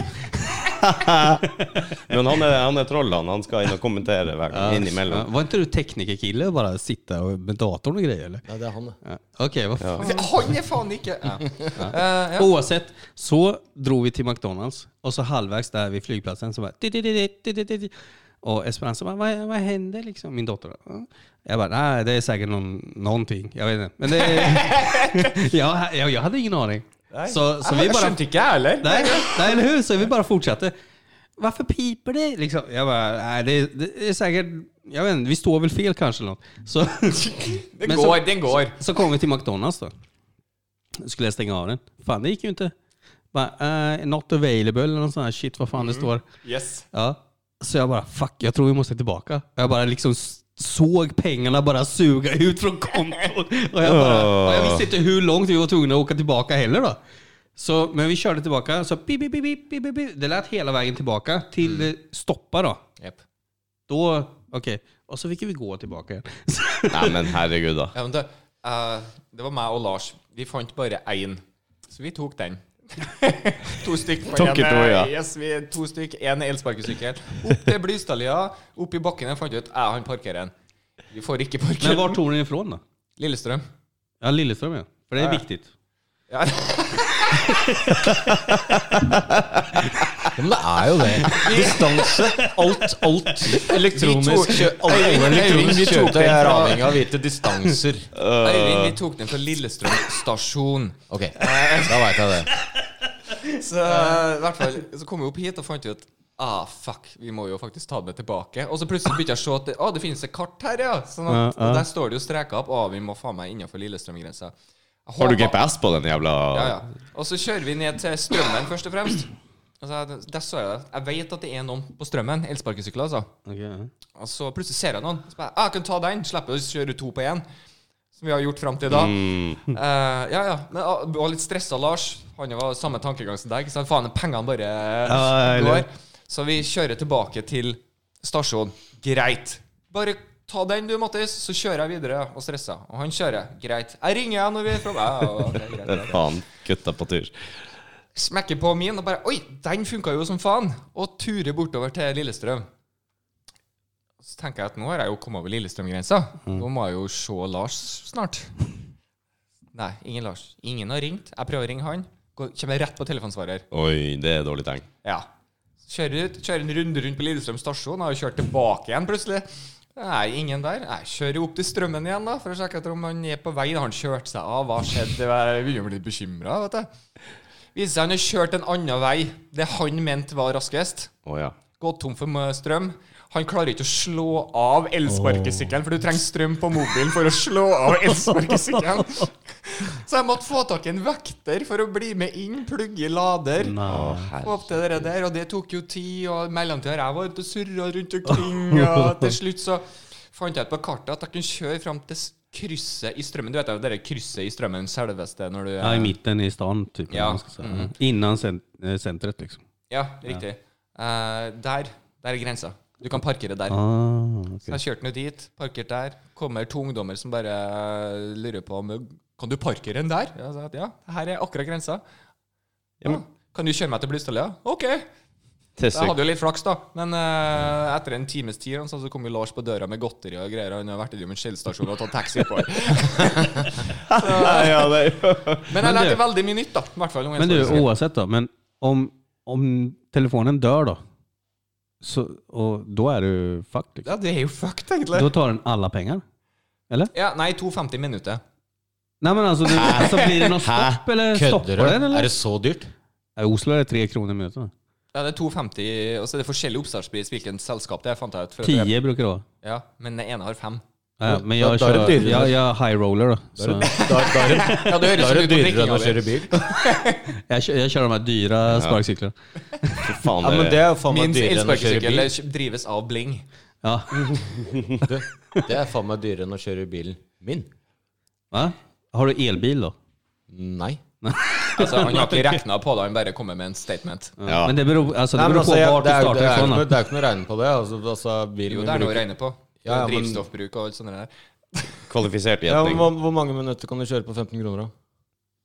Speaker 1: Men han er, han er troll, han. Han skal inn og kommentere hver gang.
Speaker 3: Ja,
Speaker 1: Innimellom.
Speaker 3: Var ikke du teknikerkille og bare sitte og- med datoren og greier, eller?
Speaker 2: Ja, det er han, det.
Speaker 3: Ja. Ok, hva faen?
Speaker 4: Han er faen ikke ja. Eh, ja.
Speaker 3: Oavsett, så dro vi til McDonalds, og så halvveis der ved flygplatsen så bare dit, dit, dit, dit, dit, dit, dit. Og Esperanza bare hva, hva hender, liksom? Min dotter. da. Jeg bare Nei, det er sikkert noen, någonting. Jeg vet ikke. Men det jeg, jeg, jeg hadde ingen aning. Så, så vi
Speaker 4: Jeg
Speaker 3: bare
Speaker 4: skjønte ikke, jeg heller.
Speaker 3: Nei, nei, eller hur? Så vi bare fortsatte. Varför piper det? Liksom. Jag bara, nej, det, det är säkert, jag vet inte, vi står väl fel kanske eller något. Så,
Speaker 4: Den
Speaker 3: Men
Speaker 4: går,
Speaker 3: så,
Speaker 4: den går.
Speaker 3: så kom vi till McDonalds då. Skulle jag stänga av den. Fan, det gick ju inte. Bara, eh, not available eller något sånt här shit, vad fan det står.
Speaker 4: Yes.
Speaker 3: Ja. Så jag bara, fuck, jag tror vi måste tillbaka. Jag bara liksom s- såg pengarna bara suga ut från kontot. Och jag, bara, och jag visste inte hur långt vi var tvungna att åka tillbaka heller då. Så, men vi körde tillbaka, så pip, pip, pip, pip, pip, pip, pip. Det lät hela vägen tillbaka till eh, stoppa då.
Speaker 4: Jep.
Speaker 3: Då, okej. Och så fick vi gå tillbaka igen.
Speaker 1: Nei, men herregud, da.
Speaker 4: Ja, men det, eh, det var meg og Lars. Vi fant bare én, så vi tok den. to stykk. på
Speaker 1: Tok
Speaker 4: en,
Speaker 1: to, ja.
Speaker 4: eh, yes, vi, to stykk, En elsparkesykkel. Opp til Blystadlia, opp i bakken. Jeg fant ut jeg han parkerer den. Vi får ikke parkere
Speaker 3: men var tog ni ifrån då?
Speaker 4: Lillestrøm.
Speaker 3: Ja, Lilleström ja. För det är viktigt.
Speaker 4: Ja.
Speaker 1: Øh.
Speaker 2: Ja, men det er jo det. Distanse, alt, alt elektronisk.
Speaker 4: Vi tok-
Speaker 2: alle- alle elektroniske
Speaker 4: Vi tok
Speaker 2: kjøretøy
Speaker 4: den
Speaker 2: er
Speaker 4: fra-
Speaker 2: avhengig av å vite distanser.
Speaker 4: Eivind, vi tok den fra Lillestrøm stasjon. Eh,
Speaker 2: Ok, da veit jeg det.
Speaker 4: Så eh, i hvert fall Så kom vi opp hit og fant ut Ah, fuck, vi må jo faktisk ta det tilbake. Og så plutselig begynte jeg å se at det, ah, det finnes et kart her, ja. Sånn at,
Speaker 3: Ja, ja.
Speaker 4: Og der står det jo streka opp. Ah, vi må faen meg innenfor Lillestrøm-grensa. Jeg
Speaker 1: Har du
Speaker 4: håper-
Speaker 1: GPS på den jævla
Speaker 4: Ja, ja. Og så kjører vi ned til Strømmen, først og fremst. Altså, der så jeg det. Jeg vet at det er noen på Strømmen, elsparkesykler, altså.
Speaker 3: Okej, ja.
Speaker 4: Og så plutselig ser jeg noen. Så bare, ah, jeg kan ta den. Slipper å kjøre to på én. Som vi har gjort fram til da.
Speaker 3: Mm.
Speaker 4: Eh, ja, ja. Men ah, jeg var litt stressa, Lars. Han var samme tankegang som deg. Så faen, pengene bare
Speaker 3: ja,
Speaker 4: går.
Speaker 3: eller-
Speaker 4: Så vi kjører tilbake til stasjonen. Greit. Bare ta den, du, Mattis. Så kjører jeg videre og stresser. Og han kjører. Greit. Jeg ringer igjen når vi er framme. Ja, ja, ok, greit, greit.
Speaker 1: Faen, gutta på tur.
Speaker 4: smekker på min og bare Oi, den funka jo som faen! Og turer bortover til Lillestrøm. Så tenker jeg at nå har jeg jo kommet over Lillestrøm-grensa. Nå må jeg jo se Lars snart. Nei, ingen Lars. Ingen har ringt. Jeg prøver å ringe han. Går, kommer rett på telefonsvarer.
Speaker 1: Oi, det er dårlig tegn.
Speaker 4: Ja. Kjører ut, kjører en runde rundt på Lillestrøm stasjon, har jo kjørt tilbake igjen plutselig. Nei, ingen der. Nei, kjører opp til strømmen igjen, da, for å sjekke etter om han er på vei. Har han kjørt seg av? Hva skjedde? Jeg begynner å bli bekymra, vet du. Viser seg han har kjørt en annen vei. Det han mente var raskest.
Speaker 1: Å ja.
Speaker 4: Gått tom for eh, strøm. Han klarer ikke å slå av elsparkesykkelen, for du trenger strøm på mobilen for å slå av elsparkesykkelen. Så jeg måtte få tak i en vekter for å bli med inn, plugge i lader.
Speaker 3: Nå.
Speaker 4: Få opp til det der, og det tok jo tid, og i mellomtida har jeg vært ute og surra rundt omkring, og til slutt så fant jeg ut på kartet at jeg kunne kjøre fram til s- krysset i strømmen. Du vet jo det der krysset i strømmen, selveste, når du
Speaker 3: Ja, i mitten i stan typ.
Speaker 4: Ja.
Speaker 3: om man ska säga. Innan cent eh, centret liksom.
Speaker 4: Ja, riktig. Eh, der. Der er grensa. Du kan parkere der.
Speaker 3: Ah,
Speaker 4: Så
Speaker 3: okay.
Speaker 4: jeg kjørte nå dit, parkert der. Kommer to ungdommer som bare eh, lurer på om Kan du parkere den der? Ja, sa jeg, ja, her er akkurat grensa. Ja, kan du kjøre meg til Blystadlia? OK. Så jeg
Speaker 1: Tissing.
Speaker 4: hadde jo litt flaks, da. Men eh, etter en times tid sånn, så kom jo Lars på døra med godteri og greier. Han har vært innom en Shell-stasjon og tatt taxi på
Speaker 1: Ja, det er jo
Speaker 4: Men jeg
Speaker 3: Men du-
Speaker 4: lærte veldig mye nytt, da. I hvert fall. om jeg
Speaker 3: Men
Speaker 4: skal
Speaker 3: du,
Speaker 4: si det.
Speaker 3: oavsett då. Men om, om telefonen dör då? Så, och då är du fucked. Liksom.
Speaker 4: Ja, det er jo fucked, egentlig.
Speaker 3: Då tar den alla pengar.
Speaker 4: Ja, nei, 2,50 minutter.
Speaker 3: Nej men alltså, du, alltså blir det något stopp eller stoppar
Speaker 2: Kødder
Speaker 3: den
Speaker 2: du?
Speaker 3: eller?
Speaker 2: Er det så dyrt?
Speaker 3: Ja, Oslo är det tre kronor i minuten.
Speaker 4: Ja, det er 2,50, og så er det forskjellig oppstartspris hvilket selskap det er, fant jeg ut. for at det er-
Speaker 3: Tio brukar det vara.
Speaker 4: Ja, men den ene har fem.
Speaker 3: Ja, men jeg,
Speaker 5: Da- da er det
Speaker 3: kjører,
Speaker 5: dyrere.
Speaker 3: jeg, jeg er high roller, da. Så
Speaker 5: Da, da, da, er det-
Speaker 4: Ja, det
Speaker 5: da
Speaker 4: høres jo
Speaker 5: er det
Speaker 4: ut på
Speaker 5: dyrere enn
Speaker 4: drikkinga
Speaker 5: å kjøre bil.
Speaker 3: jeg, kjører, jeg kjører de her dyre sparkesyklene.
Speaker 1: Fy faen,
Speaker 5: Ja, men
Speaker 1: det
Speaker 5: det er jo faen meg
Speaker 4: Min
Speaker 5: dyrere enn å kjøre
Speaker 4: elsparkesykkel
Speaker 5: bil.
Speaker 4: drives av bling.
Speaker 3: Ja.
Speaker 5: Det er faen meg dyrere enn å kjøre bilen min.
Speaker 3: Hva? Har du elbil, da?
Speaker 5: Nei.
Speaker 4: Altså, Han har ikke regna på det, han bare kommer med en statement.
Speaker 1: Ja.
Speaker 3: Men det beror, altså, det
Speaker 5: Nei, men
Speaker 3: beror på
Speaker 5: altså, jeg,
Speaker 3: hvor du
Speaker 5: det, er, jo-
Speaker 3: starter
Speaker 5: det, er, jo
Speaker 3: fra.
Speaker 5: ikke-
Speaker 3: da.
Speaker 5: det er jo ikke noe å regne på det. Altså, altså, bilen
Speaker 4: Jo,
Speaker 5: min
Speaker 4: det er noe å
Speaker 5: bruker-
Speaker 4: regne på.
Speaker 5: Ja, ja, men-
Speaker 4: Drivstoffbruk og alt sånt der.
Speaker 1: kvalifisert
Speaker 5: ja,
Speaker 1: gjetning.
Speaker 5: hvor, hvor mange minutter kan du kjøre på 15 kroner, da?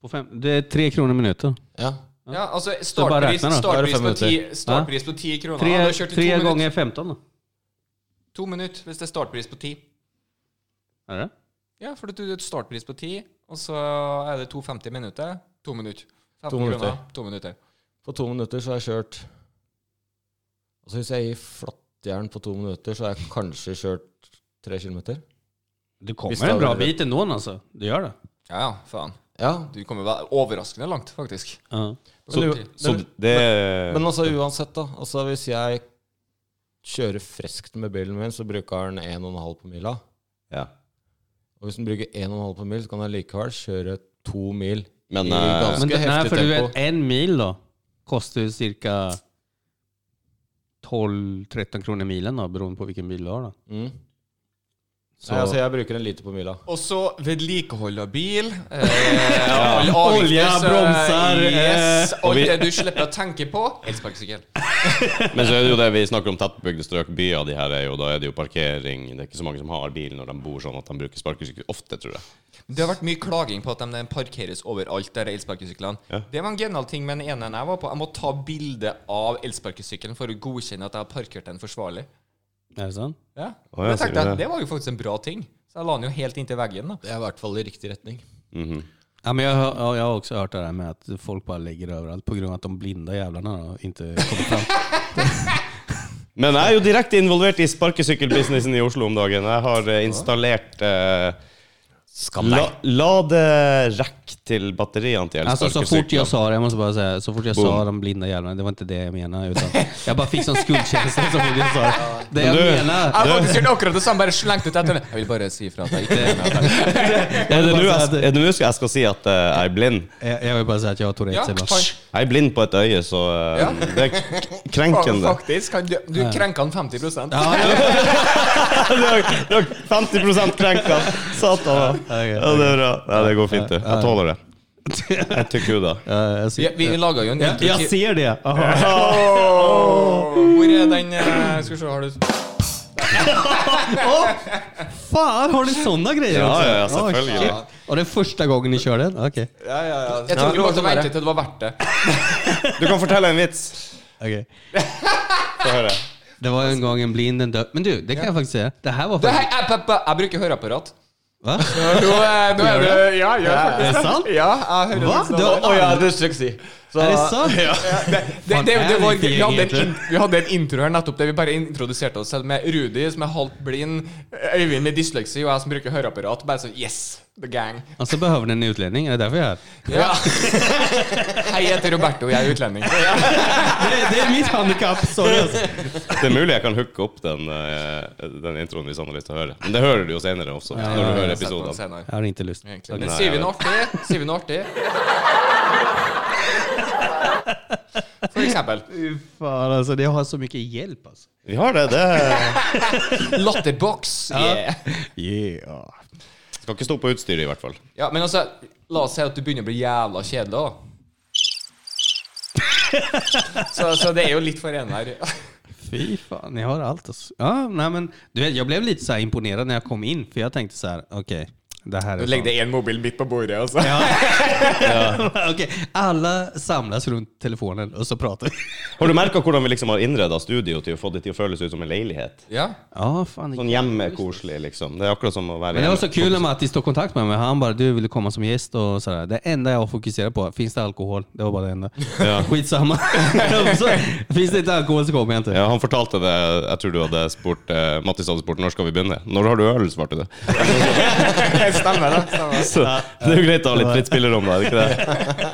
Speaker 3: På fem, det er tre kroner minuttet.
Speaker 5: Ja.
Speaker 4: Ja, altså
Speaker 3: bare
Speaker 4: Startpris,
Speaker 3: regner, da.
Speaker 4: startpris,
Speaker 5: Da er
Speaker 4: på,
Speaker 5: det fem
Speaker 4: ti, startpris på ti kroner.
Speaker 3: Tre,
Speaker 4: Ja, du kjørte
Speaker 3: tre
Speaker 4: to minutter.
Speaker 3: ganger 15, da.
Speaker 4: To minutter hvis det er startpris på ti.
Speaker 3: Er det?
Speaker 4: Ja, for du har et startpris på ti, og så er det 2,50 minutter. To minutter. 15
Speaker 5: To minutter.
Speaker 4: kroner. To minutter.
Speaker 5: På to minutter så har jeg kjørt Altså Hvis jeg gir flattjern på to minutter, så har jeg kanskje kjørt tre kilometer.
Speaker 3: Du
Speaker 5: Hvis
Speaker 3: kommer
Speaker 5: det
Speaker 3: en bra
Speaker 5: hadde vært-
Speaker 3: bit til noen, altså. Du gjør det.
Speaker 4: Ja, ja, faen.
Speaker 5: Ja.
Speaker 4: Du kommer vel overraskende langt, faktisk.
Speaker 3: Ja.
Speaker 5: Men,
Speaker 1: Så,
Speaker 5: u-
Speaker 1: så
Speaker 5: men,
Speaker 1: det
Speaker 5: men altså uansett, da. Altså Hvis jeg kjører friskt med bilen min, så bruker den 1,5 på mila.
Speaker 1: ja.
Speaker 5: Og hvis den bruker 1,5 på mil, så kan jeg likevel kjøre to mil.
Speaker 1: Men
Speaker 5: Det er
Speaker 1: eh,
Speaker 5: ganske-
Speaker 3: Men det, nei,
Speaker 5: heftig
Speaker 3: for du
Speaker 5: tempo.
Speaker 3: vet, en mil, da, koster ca. 12-13 kroner milen, da, beroende på hvilken bil du har. da.
Speaker 5: Mm.
Speaker 3: Så-
Speaker 5: Nei, altså jeg bruker en liter på mila.
Speaker 4: Og så vedlikehold av bil. Eh, all
Speaker 3: Olje,
Speaker 4: avgifter, så-
Speaker 3: bromser,
Speaker 4: Yes,
Speaker 3: eh,
Speaker 1: og
Speaker 4: alt
Speaker 1: vi-
Speaker 4: det du slipper å tenke på. Elsparkesykkel.
Speaker 1: Men så er det jo det vi snakker om tettbygde strøk, byer, de her er jo, da er det jo parkering Det er ikke så mange som har bil når de bor sånn at de bruker sparkesykkel ofte, tror jeg.
Speaker 4: Det har vært mye klaging på at de parkeres overalt, der er elsparkesyklene.
Speaker 1: Ja.
Speaker 4: Det var en genial ting med den ene jeg var på. Jeg må ta bilde av elsparkesykkelen for å godkjenne at jeg har parkert den forsvarlig.
Speaker 3: Er det sant?
Speaker 4: Ja.
Speaker 1: Å, ja,
Speaker 4: Men jeg
Speaker 1: sier du
Speaker 4: tenkte at
Speaker 1: det?
Speaker 4: det var jo faktisk en bra ting. Så jeg la den jo helt inntil veggen, da.
Speaker 5: Det er i hvert fall i riktig retning.
Speaker 1: Mhm.
Speaker 3: Ja, men jeg, har- ja, jeg har også hørt det der med at folk bare legger det overalt pga. at de blinde jævlene da, ikke kommer fram.
Speaker 1: Men jeg er jo direkte involvert i sparkesykkelbusinessen i Oslo om dagen. Jeg har eh, installert eh, la, laderekk til batteriene til
Speaker 3: Alltså, så fort jeg
Speaker 1: elsparkesykler.
Speaker 3: sa det, jeg måste bara säga, så fort jeg
Speaker 1: Boom.
Speaker 3: sa de blinda jävlarna, det var inte det jeg menade. Utan jag bara fick sån skuldkänsla så fort jag sa det. Det jag
Speaker 1: Men du-
Speaker 3: menar...
Speaker 4: Jeg har faktisk gjort akkurat det samme, bare slengt ut etter den. Jeg vil bare si ifra at jeg ikke
Speaker 1: Er det nå jeg, er det nå jeg skal si at eh, jeg er blind?
Speaker 3: Jeg, jeg vil bare si at jeg har Tourettes.
Speaker 4: Ja,
Speaker 3: jeg bare-
Speaker 4: faen.
Speaker 1: Jeg er blind på et øye, så eh,
Speaker 4: Ja.
Speaker 1: det er k- krenkende.
Speaker 4: Faktisk. Han, du krenka han 50
Speaker 3: Ja, ja.
Speaker 1: Det er- det er 50 krenka. Satan. da.
Speaker 3: Ja, ok,
Speaker 1: Ja, det er bra. Nei, det går fint, du. Jeg tåler det. Jeg tykker jo det.
Speaker 3: Ja, jeg
Speaker 4: Vi,
Speaker 3: ser-
Speaker 4: vi laga jo en
Speaker 3: Ja, jeg
Speaker 4: introduksjon
Speaker 3: ser det! Aha.
Speaker 4: Hvor er den eh, Skal vi se, har du
Speaker 3: Fan, har ni sånne greier
Speaker 1: Ja,
Speaker 3: også?
Speaker 1: ja, ja,
Speaker 3: Åh,
Speaker 1: selvfølgelig.
Speaker 3: shit. Og det er første gangen ni kjører den? Ok.
Speaker 4: Jeg trodde du måtte vente til det var verdt det.
Speaker 1: Du kan fortelle en vits.
Speaker 3: ok.
Speaker 1: Få høre.
Speaker 3: Det var en gang en blind en død... Men du, det kan jeg faktisk si. Det her var
Speaker 4: det
Speaker 3: faktisk...
Speaker 4: her, jeg, jeg, jeg bruker høreapparat.
Speaker 3: Va?
Speaker 4: Nå, eh, nå er det Ja, jeg gjør
Speaker 3: Er det
Speaker 4: faktisk det.
Speaker 3: sant?
Speaker 4: Ja, jeg hører
Speaker 3: Hva?
Speaker 4: litt sånn.
Speaker 3: Det var-
Speaker 5: ja, dysleksi. Så
Speaker 3: Er det sant?
Speaker 4: Det, det, det var, vi, hadde en,
Speaker 3: egentlig?
Speaker 4: in- vi hadde en intro her nettopp der vi bare introduserte oss selv med Rudi, som er halvt blind, Øyvind med dysleksi og jeg som bruker høreapparat. Bare sånn Yes! The gang.
Speaker 3: Og så behøver den en utlending. Er det derfor jeg er her?
Speaker 4: Ja. Hei, jeg heter Roberto, jeg er utlending.
Speaker 3: Det, det er mitt handikap! Sorry, altså.
Speaker 1: Det er mulig jeg kan hooke opp den, eh, den introen hvis han har lyst til å høre. Men det hører du jo senere også. når du hører
Speaker 4: Jeg setter den
Speaker 1: episoden.
Speaker 4: senere,
Speaker 3: Jeg har ikke lyst.
Speaker 4: egentlig. Men sier vi noe artig? Sier vi noe artig? For eksempel.
Speaker 3: Fy faen, altså. Det har så mye hjelp, altså.
Speaker 1: Vi har det. det
Speaker 4: Latterbox. Yeah.
Speaker 3: Yeah.
Speaker 1: Skal ikke stå på utstyret, i hvert fall.
Speaker 4: Ja, men altså, la oss si at du begynner å bli jævla kjedelig, da. så, så det er jo litt for ene her.
Speaker 3: Fy faen, jeg har alt. Altså. Ja, nei, men, du vet, jeg ble litt så här imponert når jeg kom inn, for jeg tenkte sånn Ok, det her
Speaker 4: Du
Speaker 3: er
Speaker 4: legger
Speaker 3: sånn.
Speaker 4: én mobil midt på bordet, altså.
Speaker 3: Ok, Alle samles rundt telefonen, og så prater vi.
Speaker 1: Har du merka hvordan vi liksom har innreda studio til å få det til å føles ut som en leilighet?
Speaker 4: Ja.
Speaker 3: Ja, faen.
Speaker 1: Sånn hjemmekoselig, liksom. Det er akkurat som å være
Speaker 3: Men det var så
Speaker 1: hjemme.
Speaker 3: kul när Mattis tog kontakt med mig. Han bara du ville komma som gäst och sådär. Det enda jag fokuserade på, finns det alkohol? Det var bara det enda. Skitsamma. så, finns det inte alkohol så kommer jag inte.
Speaker 1: Ja, han fortalte det Jeg tror du hadde spurt eh, Mattis hadde spurt når skal vi begynne. Når har du øl, svarte du.
Speaker 4: Stemmer det. Stemmer.
Speaker 1: Så det er jo greit å ha litt fritt spillerom, da. er det Ikke det?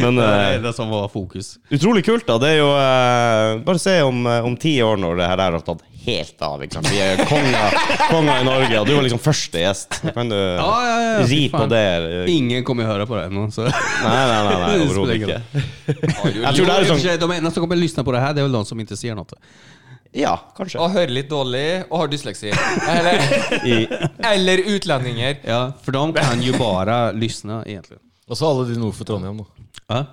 Speaker 1: Men
Speaker 3: Det var det
Speaker 1: eh,
Speaker 3: enda som var fokus.
Speaker 1: utrolig kult, da. Det er jo eh, Bare se om, eh, om ti år, når det her har tatt helt av. Ikke sant? Vi er konger, konger i Norge, og du var liksom første gjest. Da Kan du
Speaker 3: Ja, ja, ja, fy
Speaker 1: ri på
Speaker 3: fan.
Speaker 1: det? Nei,
Speaker 3: Ingen kommer att höra på det här ännu. Så.
Speaker 1: nei, nei, nei
Speaker 3: Det spiller
Speaker 1: overhodet
Speaker 3: ingen
Speaker 1: ikke.
Speaker 4: Jeg
Speaker 1: Jeg tror det
Speaker 3: I
Speaker 1: er
Speaker 3: och för
Speaker 1: sånn
Speaker 3: sig, De enda som kommer att lyssna på det här, det är väl de som inte ser något.
Speaker 1: Ja, kanskje.
Speaker 4: Og hører litt dårlig, og har dysleksi. Eller,
Speaker 1: I,
Speaker 4: eller utlendinger.
Speaker 3: Ja, för de kan ju bara lyssna egentligen.
Speaker 5: Og så alle de nord for Trondheim, da.
Speaker 3: Ja.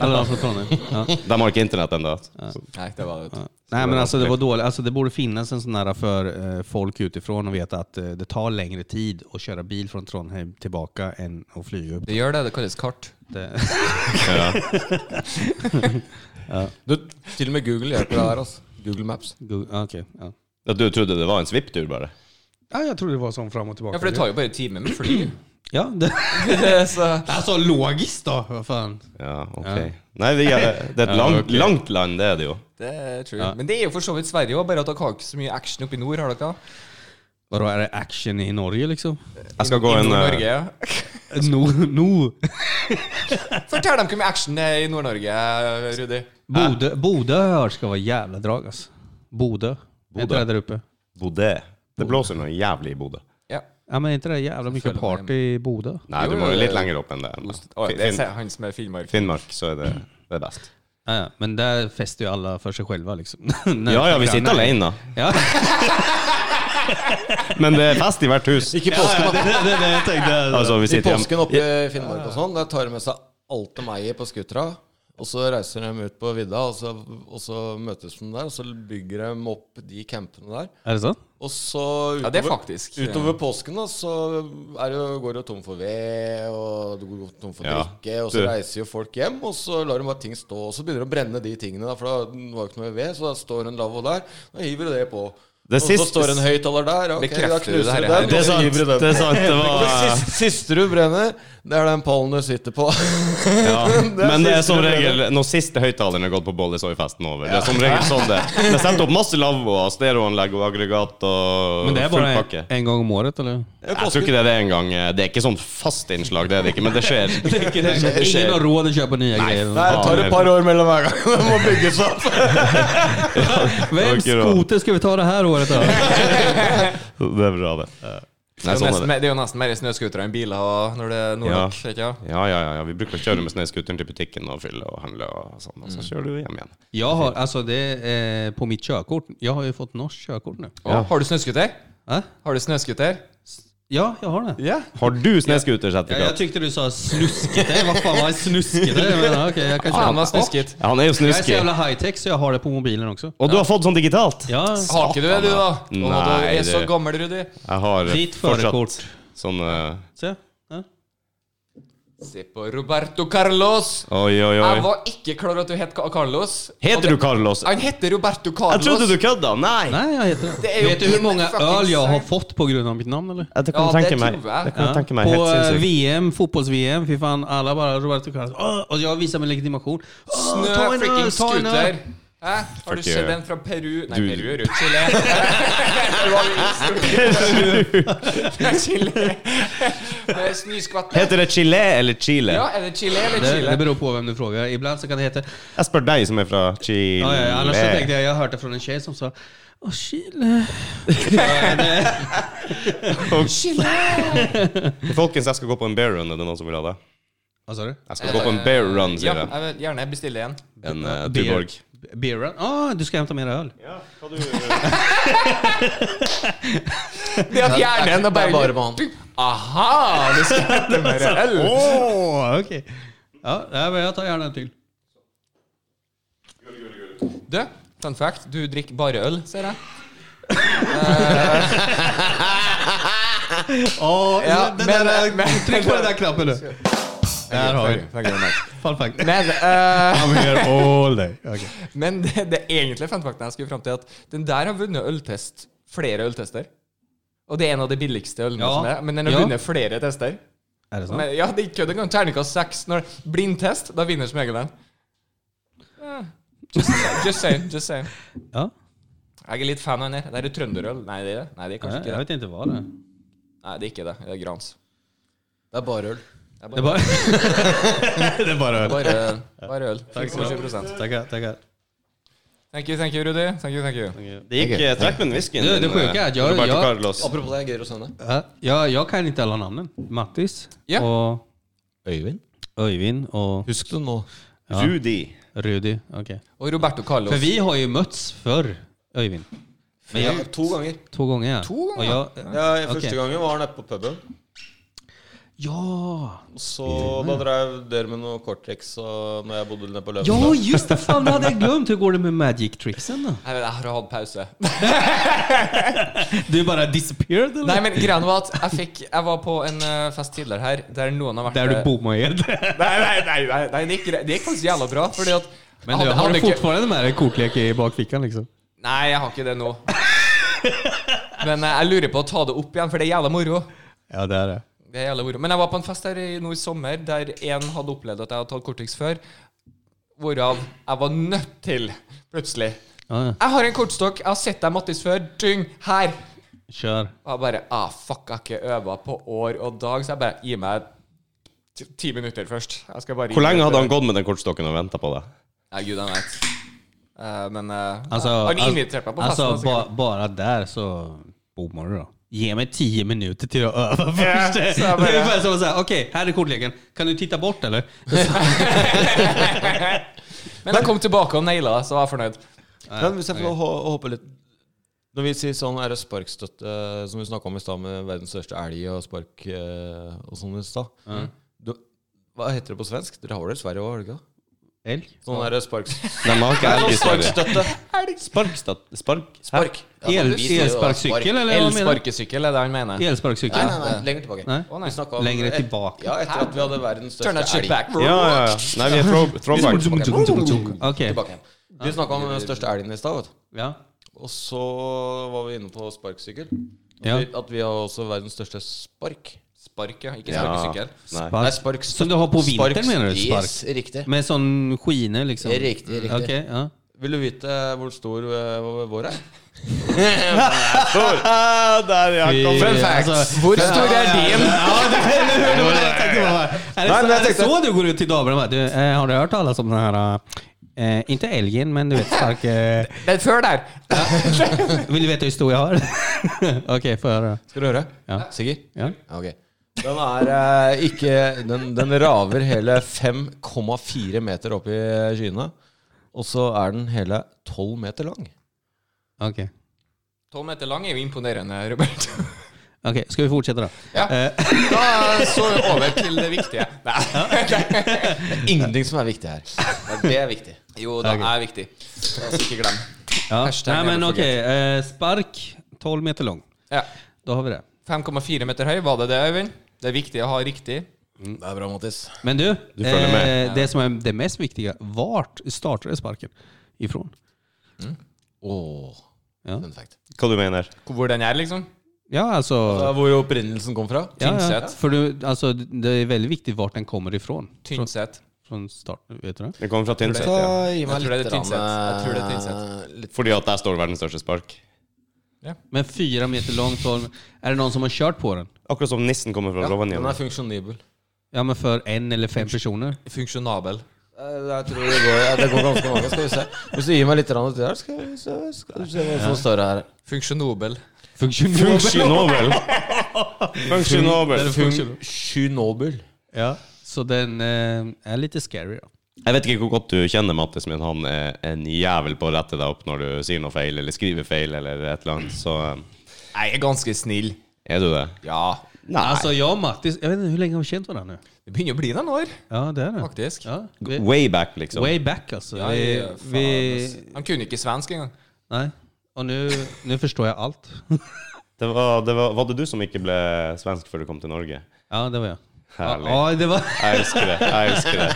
Speaker 3: Alla de från altså, Trondheim. Ja.
Speaker 1: de har ikke internett ennå.
Speaker 4: Nei, det var det.
Speaker 3: Nej men alltså det var dåligt. Alltså det borde finnas en sån här för eh, folk utifrån och veta att eh, det tar längre tid att köra bil från Trondheim tillbaka än att flyga upp.
Speaker 4: Det gjør det. Det kalles kart.
Speaker 3: Det,
Speaker 5: Du, til og med Google hjelper deg her, altså. Google Maps.
Speaker 3: Gu- ah, okej, ja.
Speaker 1: Du trodde det var en svipptur, bare?
Speaker 3: ja, jag trodde det var sån fram och tillbaka.
Speaker 4: Ja, For det tar jo bare en time med fly.
Speaker 3: Ja, det...
Speaker 4: Så
Speaker 3: Alltså logiskt då, vad fan.
Speaker 1: Ja, ok. Nei, vi er, det er et langt, langt land, det er det jo.
Speaker 4: det er true. Men det er jo for så vidt Sverige òg, bare at dere har ikke så mye action oppe i nord, har dere?
Speaker 3: Vadå, är det action i Norge liksom?
Speaker 1: Jeg skal gå
Speaker 4: I
Speaker 1: en eh,
Speaker 4: Nord-Norge.
Speaker 3: Eh, No, no.
Speaker 4: Fortell dem hvor mye action det er i Nord-Norge, Rudi.
Speaker 3: Bodø, Bodø har hört ska vara jävla drag alltså. Bodø. Är inte det där uppe?
Speaker 1: Bodø. Det blåser noe jævlig i Bodø.
Speaker 4: Ja.
Speaker 3: Ja men är inte det jävla mycket
Speaker 4: Följ med
Speaker 3: party i Bodø?
Speaker 1: Nei,
Speaker 4: Jo,
Speaker 1: du må
Speaker 4: jo,
Speaker 1: jo litt
Speaker 4: jo.
Speaker 1: lenger opp enn det.
Speaker 4: Å, det
Speaker 1: Finn,
Speaker 4: er han som er Finnmark.
Speaker 1: Finnmark, så er det, det er best.
Speaker 3: Ja, ja, men där festar ju alla för sig själva liksom.
Speaker 1: Ja ja, vi sitter alene, da.
Speaker 3: Ja,
Speaker 1: Men det er fest i hvert hus.
Speaker 5: Ikke påsken,
Speaker 3: det är det jag tänkte.
Speaker 1: Altså, vi
Speaker 5: I
Speaker 1: sitter hjemme.
Speaker 5: påsken oppe i Finnmark og sånn, der tar de med seg alt de eier på skutra. Og så reiser de ut på vidda, og så, og så møtes de der. Og så bygger de opp de campene der.
Speaker 3: Är det så?
Speaker 5: Og så
Speaker 4: Ja, det er faktisk.
Speaker 5: utover påsken da, så er det, jo- går det jo tom for ved, og det går tom for
Speaker 1: Ja.
Speaker 5: drikke. Og så
Speaker 1: Du-
Speaker 5: reiser jo folk hjem, og så lar de bare ting stå. Og så begynner de å brenne de tingene, da, for da var det ikke noe ved. Så da står en lavvo der, og hiver de det på.
Speaker 1: Det
Speaker 5: og så
Speaker 1: siste-
Speaker 5: står en høyttaler der, ja, ok, da
Speaker 4: Bekrefter du det
Speaker 5: knuser
Speaker 4: her?
Speaker 5: du den.
Speaker 1: Det er
Speaker 5: og så
Speaker 1: sant.
Speaker 5: hiver du den
Speaker 1: Det er sant. Det
Speaker 5: det
Speaker 1: var
Speaker 5: siste, siste du brenner, det er den pallen du sitter på.
Speaker 1: ja. Men det er som
Speaker 5: siste
Speaker 1: regel når siste høyttaleren er gått på bolle, så er festen over. Det er som regel sånn det er. Det er satt opp masse lavvoer, stereoanlegg og aggregat og
Speaker 3: Men det är
Speaker 1: full
Speaker 3: bara en,
Speaker 1: pakke.
Speaker 3: en gång om året eller?
Speaker 1: Jeg tror ikke det er det engang. Det er ikke sånn fast innslag, det er det ikke, men det skjer.
Speaker 3: Ingen har råd att köpa nya
Speaker 5: Nei,
Speaker 3: grejer.
Speaker 5: det tar et par år mellom hver gang. Det må bygges opp.
Speaker 3: Vems
Speaker 1: Tack, Johan.
Speaker 3: skoter ska vi ta det här året då?
Speaker 1: Det er bra, det.
Speaker 4: Det
Speaker 1: Nei,
Speaker 4: er jo
Speaker 1: sånn
Speaker 4: nesten,
Speaker 1: er det.
Speaker 4: det er jo nesten mer snøscootere enn biler og når det er nordnorsk.
Speaker 1: Ja.
Speaker 4: ikke sant?
Speaker 1: Ja, ja, ja, ja. Vi bruker å kjøre med snøscooteren til butikken og fylle og handle og sånn, og så kjører du hjem igjen.
Speaker 3: Jag har, alltså det är eh, på mitt körkort. Jag har ju fått norskt körkort nu.
Speaker 4: Å, Har du snøscooter?
Speaker 3: Ja,
Speaker 4: Har du snøscooter?
Speaker 3: ja jeg har det.
Speaker 4: Ja.
Speaker 1: Har du
Speaker 3: Ja, jeg
Speaker 1: snøscootersertifikat?
Speaker 3: tykte du sa snuskete. Hva faen var snuskete? Men, ja, ok, jeg, kan
Speaker 4: Ah, han
Speaker 3: kjøpe.
Speaker 4: var snusket.
Speaker 1: Ja, han er jo
Speaker 3: jeg er så
Speaker 1: snuske.
Speaker 3: jævla high-tech, så jeg har det på mobilen også.
Speaker 1: Og du har fått sånn digitalt?
Speaker 3: Ja,
Speaker 4: Har ikke du det, du, da? Å,
Speaker 1: Nei,
Speaker 4: du er så
Speaker 1: det-
Speaker 4: gammel, Rudi.
Speaker 1: Jeg har
Speaker 3: Ditt
Speaker 1: fortsatt
Speaker 3: førerkort.
Speaker 1: sånn eh,
Speaker 3: Se. Ja.
Speaker 4: Se på Roberto Carlos.
Speaker 1: Oi, oi,
Speaker 4: Jeg
Speaker 1: oi.
Speaker 4: var ikke klar over at du het Ca- Carlos.
Speaker 1: Heter du Carlos?
Speaker 4: Han heter Roberto Carlos.
Speaker 1: Jeg trodde du kødda! Nei!
Speaker 3: Nei, jeg heter det.
Speaker 4: Det er jo
Speaker 3: Vet du hvor mange
Speaker 4: fucking
Speaker 3: øl jeg har
Speaker 4: sant.
Speaker 3: fått pga. mitt navn, eller?
Speaker 1: Det
Speaker 4: Ja, det
Speaker 1: kan jeg tenke
Speaker 4: tror
Speaker 1: meg.
Speaker 4: jeg.
Speaker 1: Det kan jeg tenke meg
Speaker 3: På
Speaker 1: helt
Speaker 3: eh,
Speaker 1: sinnssykt.
Speaker 3: VM, fotbolls-VM, fy faen, alle bare Roberto Carlos. Åh, og jeg viser min legitimasjon. Åh,
Speaker 4: Snø,
Speaker 3: ta en øl,
Speaker 4: freaking
Speaker 3: ta en øl.
Speaker 4: scooter. Hæ? Har du
Speaker 1: Fuck
Speaker 4: sett
Speaker 1: you.
Speaker 4: den fra Peru? Nei,
Speaker 1: Du-
Speaker 4: Peru er jo Chile. Det var jo Peru. Chile. Med snøskvatt.
Speaker 1: Heter det Chile eller Chile?
Speaker 4: Ja, er det Chile eller
Speaker 3: Det, det
Speaker 4: Chile?
Speaker 3: beror på hvem du spør. Iblant så kan det hete
Speaker 1: Jeg spør deg som er fra
Speaker 3: ja, ja, ja, Ellers så tenkte
Speaker 1: Chile.
Speaker 3: jeg jeg hørte fra en jente som sa Å, Chile. Ja, det-
Speaker 1: Folkens, jeg skal gå på en bear run. Er det noen som vil ha det?
Speaker 3: Hva sa du?
Speaker 1: Jeg skal gå på en bear run,
Speaker 4: Ja,
Speaker 1: sier jeg.
Speaker 4: jeg vil gjerne bestille en.
Speaker 1: En uh,
Speaker 3: Beer-
Speaker 1: Tuborg.
Speaker 3: Beer run? Ah, du skal hente mer øl?
Speaker 4: Det er fjernen og
Speaker 5: Det er
Speaker 4: bare
Speaker 5: bare med han.
Speaker 4: Aha! Det skal mer øl.
Speaker 3: Åh, ok. Ja, nei, men jeg tar gjerne en til.
Speaker 4: Du, fun fact, du drikker bare øl, ser jeg. Ja, den men- der- men-
Speaker 3: trykk på den der knappen, du. Der har vi den. Fun fact.
Speaker 4: Men, eh,
Speaker 3: I'm here all day. Okay.
Speaker 4: men det, det egentlige fun facten jeg skulle fram til, er at den der har vunnet øltest. Flere øltester. Og det er en av de billigste ølene
Speaker 3: Ja.
Speaker 4: som er. Men den har
Speaker 3: Ja.
Speaker 4: vunnet flere tester.
Speaker 3: Er det sant?
Speaker 4: Men, ja, det er ikke kødd engang. Terningkast seks. Når blindtest, da vinner som regel den. Ja. Just, just saying. just saying
Speaker 3: Ja.
Speaker 4: Jeg er litt fan av den her. Det er jo trønderøl. Nei, det er det. Nei, det er kanskje
Speaker 3: Jeg
Speaker 4: ikke det.
Speaker 3: vet ikke hva det er.
Speaker 4: Nei, det er ikke det. Det er Grans.
Speaker 5: Det er bare øl.
Speaker 3: Det er bare Det er bare øl.
Speaker 4: Bare, bare øl. 25
Speaker 3: Takker, takker.
Speaker 4: Thank you, thank you, Rudi. Thank you, thank you.
Speaker 1: Det gick eh, träff med whiskyn.
Speaker 3: Du, det sjuka är att jag-
Speaker 1: Roberto
Speaker 3: jag-
Speaker 1: Carlos.
Speaker 5: Apropos det, Geir og Sønne.
Speaker 3: Eh, Ja, jag, jag kan inte alla namnen. Mattis
Speaker 4: Ja.
Speaker 3: och
Speaker 5: Øyvind?
Speaker 3: Öyvind och
Speaker 5: Husk det nå.
Speaker 3: Ja.
Speaker 1: Rudi.
Speaker 3: Rudi. Okay.
Speaker 4: Og Roberto Carlos.
Speaker 3: För vi har ju mötts förr, Öyvind. Men jag,
Speaker 5: to ganger.
Speaker 3: två gånger ja.
Speaker 4: Två
Speaker 3: Och jag,
Speaker 5: Ja,
Speaker 3: Ok.
Speaker 5: Første gangen var han nede på puben.
Speaker 3: ja!
Speaker 5: Så da drev dere med noe korttriks og når jeg bodde nede på
Speaker 3: Ja
Speaker 5: Løvenstad.
Speaker 3: just det! Fan det hade jag glömt. Hur går det med magic tricksen då?
Speaker 4: Nei, men jeg har hatt pause.
Speaker 3: Du bara disappeared eller?
Speaker 4: Nei, men greia var at jeg fikk Jeg var på en eh, fest tidligere her der noen har vært
Speaker 3: Där du bommade.
Speaker 4: Nei, nei, nei, nei, nei det, gikk, det gikk faktisk jævla bra, fordi at
Speaker 3: Men du,
Speaker 4: jeg hadde-
Speaker 3: har
Speaker 4: hadde
Speaker 3: du
Speaker 4: ikke-
Speaker 3: fortfarande med dig kortlek i bakfickan liksom?
Speaker 4: Nei, jeg har ikke det nå. Men eh, jeg lurer på å ta det opp igjen, for det er jævla moro.
Speaker 3: Ja det är det.
Speaker 4: Det er jævla moro. Men jeg var på en fest her i nå i sommer der en hadde opplevd at jeg hadde tatt korttriks før, hvorav jeg var nødt til, plutselig
Speaker 3: Ja, ja.
Speaker 4: Jeg har en kortstokk, jeg har sett deg, Mattis, før. Dyng! Her!
Speaker 3: Kör.
Speaker 4: Og jeg bare ah, Fuck, jeg har ikke øva på år og dag, så jeg bare Gi meg ti- ti minutter først. Jeg skal bare gi
Speaker 1: Hvor lenge
Speaker 4: meg-
Speaker 1: hadde han gått med den kortstokken og ventet på deg?
Speaker 4: Ja, gud, han vet. Eh, men eh,
Speaker 1: Altså,
Speaker 3: Alltså,
Speaker 4: han
Speaker 3: alltså-
Speaker 4: inviterte meg på festen.
Speaker 3: alltså,
Speaker 4: så
Speaker 3: ba, bara där så bommar du då. Ge mig tio minuter till att öva först.
Speaker 4: så
Speaker 3: det
Speaker 4: jag börjar.
Speaker 3: är ungefär som att säga, okej, här är kortleken. Kan du titta bort eller?
Speaker 4: Men jeg kom tilbake og naila, så var jeg fornøyd.
Speaker 5: Men hvis jeg får hå- håpe litt Når vi sier sånn er det sparkstøtte, eh, som vi snakka om i stad, med verdens største elg og spark eh, og sånn i stad Du- Hva heter det på svensk? Dere har det i Sverige òg, har dere ikke? det?
Speaker 3: Elg?
Speaker 5: Sånn er det sparks...
Speaker 1: De har ikke elg i Sverige.
Speaker 5: Sparkstøtte.
Speaker 1: Sparkstat... Spark...
Speaker 5: Spark.
Speaker 3: El,
Speaker 5: vi sier jo
Speaker 3: elsparkcykel eller vad menar
Speaker 4: Elsparkesykkel er det han mener.
Speaker 3: du?
Speaker 5: Nei,
Speaker 3: Elsparkcykel?
Speaker 5: nei, nei, Eh, lenger tilbake.
Speaker 3: Nei.
Speaker 4: Å, nei.
Speaker 5: Vi snakket om-
Speaker 3: Lengre tilbake.
Speaker 5: Ja, etter at vi hadde verdens
Speaker 4: Turn that shit
Speaker 5: største elg.
Speaker 4: back.
Speaker 1: Ja, ja, ja. Nei, vi er throw, throwback.
Speaker 3: Okej.
Speaker 5: Tilbake igjen. Vi snakka om den største elgen i stad, vet du.
Speaker 3: Ja.
Speaker 5: Og så var vi inne på sparksykkel. At,
Speaker 3: Ja.
Speaker 5: vi, at vi har også verdens største spark.
Speaker 4: Spark, ja. Ikke
Speaker 1: Ja.
Speaker 4: sparkesykkel.
Speaker 1: Nei.
Speaker 5: Nei,
Speaker 3: Spark.
Speaker 5: spark
Speaker 3: Som du har på vintern menar du? Spark?
Speaker 5: Yes, riktig.
Speaker 3: Med sån skine liksom?
Speaker 5: Riktigt, riktigt.
Speaker 3: Okej, ja.
Speaker 5: Vil du vite hvor stor eh, vår er?
Speaker 1: Der, ja.
Speaker 3: Vi-
Speaker 1: Kom.
Speaker 3: alltså-
Speaker 4: Hvor stor er din?
Speaker 3: Ja, det, eller hur? Det var det jag tänkte bara. Är det, så,
Speaker 1: Nej, men jag
Speaker 3: är det
Speaker 1: tänkte-
Speaker 3: så du går ut till damerna? bara, Du, eh, har du hört talas om den här, eh, inte älgen, men du vet stark... Eh,
Speaker 4: Den før der.
Speaker 3: vill du veta hur stor jag har? Okej, får jag höra?
Speaker 5: Skal du høre?
Speaker 3: Ja.
Speaker 5: Sikker?
Speaker 3: Ja.
Speaker 5: Ja, ok. Den er eh, ikke den, den raver hele 5,4 meter opp i skyene. Og så er den hele 12 meter lang.
Speaker 3: Okej.
Speaker 4: Tolv meter lang er jo imponerende, Robert.
Speaker 3: Okej, ska vi fortsätta då?
Speaker 4: Ja.
Speaker 3: Eh,
Speaker 4: Da så vi over til det viktige. Nei.
Speaker 5: Det er ingenting som er viktig her. Det er viktig.
Speaker 4: Jo, det er viktig. Altså, ikke glem.
Speaker 3: ja.
Speaker 4: Hashtag
Speaker 3: Nej, men
Speaker 4: never
Speaker 3: okej. Eh, spark, 12 meter lång.
Speaker 4: Ja.
Speaker 3: Då har vi det.
Speaker 4: 5,4 meter høy, var det det, Øyvind? Det er viktig å ha riktig. Mm,
Speaker 5: Det er bra, Mattis.
Speaker 3: Men du,
Speaker 1: följer med.
Speaker 3: eh, det som är det mest viktiga, vart startade sparken ifrån?
Speaker 5: Åh,
Speaker 3: Ja.
Speaker 5: fun fact.
Speaker 1: Hva du mener?
Speaker 4: Hvor den er, liksom.
Speaker 3: Ja, alltså...
Speaker 5: Hvor opprinnelsen kom fra?
Speaker 4: Tynset.
Speaker 3: för du, alltså, det är väldigt viktigt vart den kommer ifrån. Från,
Speaker 4: Tynset.
Speaker 3: från start, vet du det?
Speaker 1: Det kommer fra Tynset,
Speaker 5: Så
Speaker 1: ja.
Speaker 5: gi
Speaker 4: Jeg
Speaker 5: meg
Speaker 4: tror det er
Speaker 5: litt rann,
Speaker 4: Tynset. Jeg tror det er
Speaker 5: eh, litt-
Speaker 1: Fordi at der står verdens største spark.
Speaker 3: Men fyra meter lång, 12, är det någon som har kört på den?
Speaker 1: Akkurat som nissen kommer fra
Speaker 5: Den er
Speaker 1: Rovaniemi.
Speaker 5: funksjonibel.
Speaker 3: Ja men för en eller fem personer.
Speaker 4: Funksjonabel.
Speaker 5: Jeg tror Eh, det går, ja, det går ganske mange. Skal vi se. Hvis du gir meg litt rann til der, skal vi se, skal vi se hva som står her.
Speaker 4: Funksjonobel.
Speaker 1: Funksjonobel! Funksjonobel.
Speaker 5: Funksjonobel.
Speaker 3: Ja. Så den eh, är lite scary då.
Speaker 1: Jeg vet ikke hvor godt du kjenner Mattis, men han er en jævel på å rette deg opp når du sier noe feil, eller skriver feil, eller et eller annet. Så eh,
Speaker 4: Jeg er ganske snill.
Speaker 1: er du det?
Speaker 4: Ja. Altså,
Speaker 1: Nei.
Speaker 3: Alltså jag och Mattis, jag vet inte hur länge har vi känt varandra nu?
Speaker 4: Det begynner å bli noen år,
Speaker 3: Ja det är det.
Speaker 4: faktisk.
Speaker 3: Ja, vi,
Speaker 1: Way back, liksom.
Speaker 3: way back alltså. vi,
Speaker 4: Ja, faen, ass.
Speaker 3: vi,
Speaker 4: Han kunne ikke svensk engang.
Speaker 3: nej. Och nu, nu förstår jag allt.
Speaker 1: Det var, det var, var det du som ikke ble svensk før du kom til Norge?
Speaker 3: Ja det var jag.
Speaker 1: Härligt.
Speaker 3: Ja det var...
Speaker 1: Jeg elsker det. Jeg elsker det.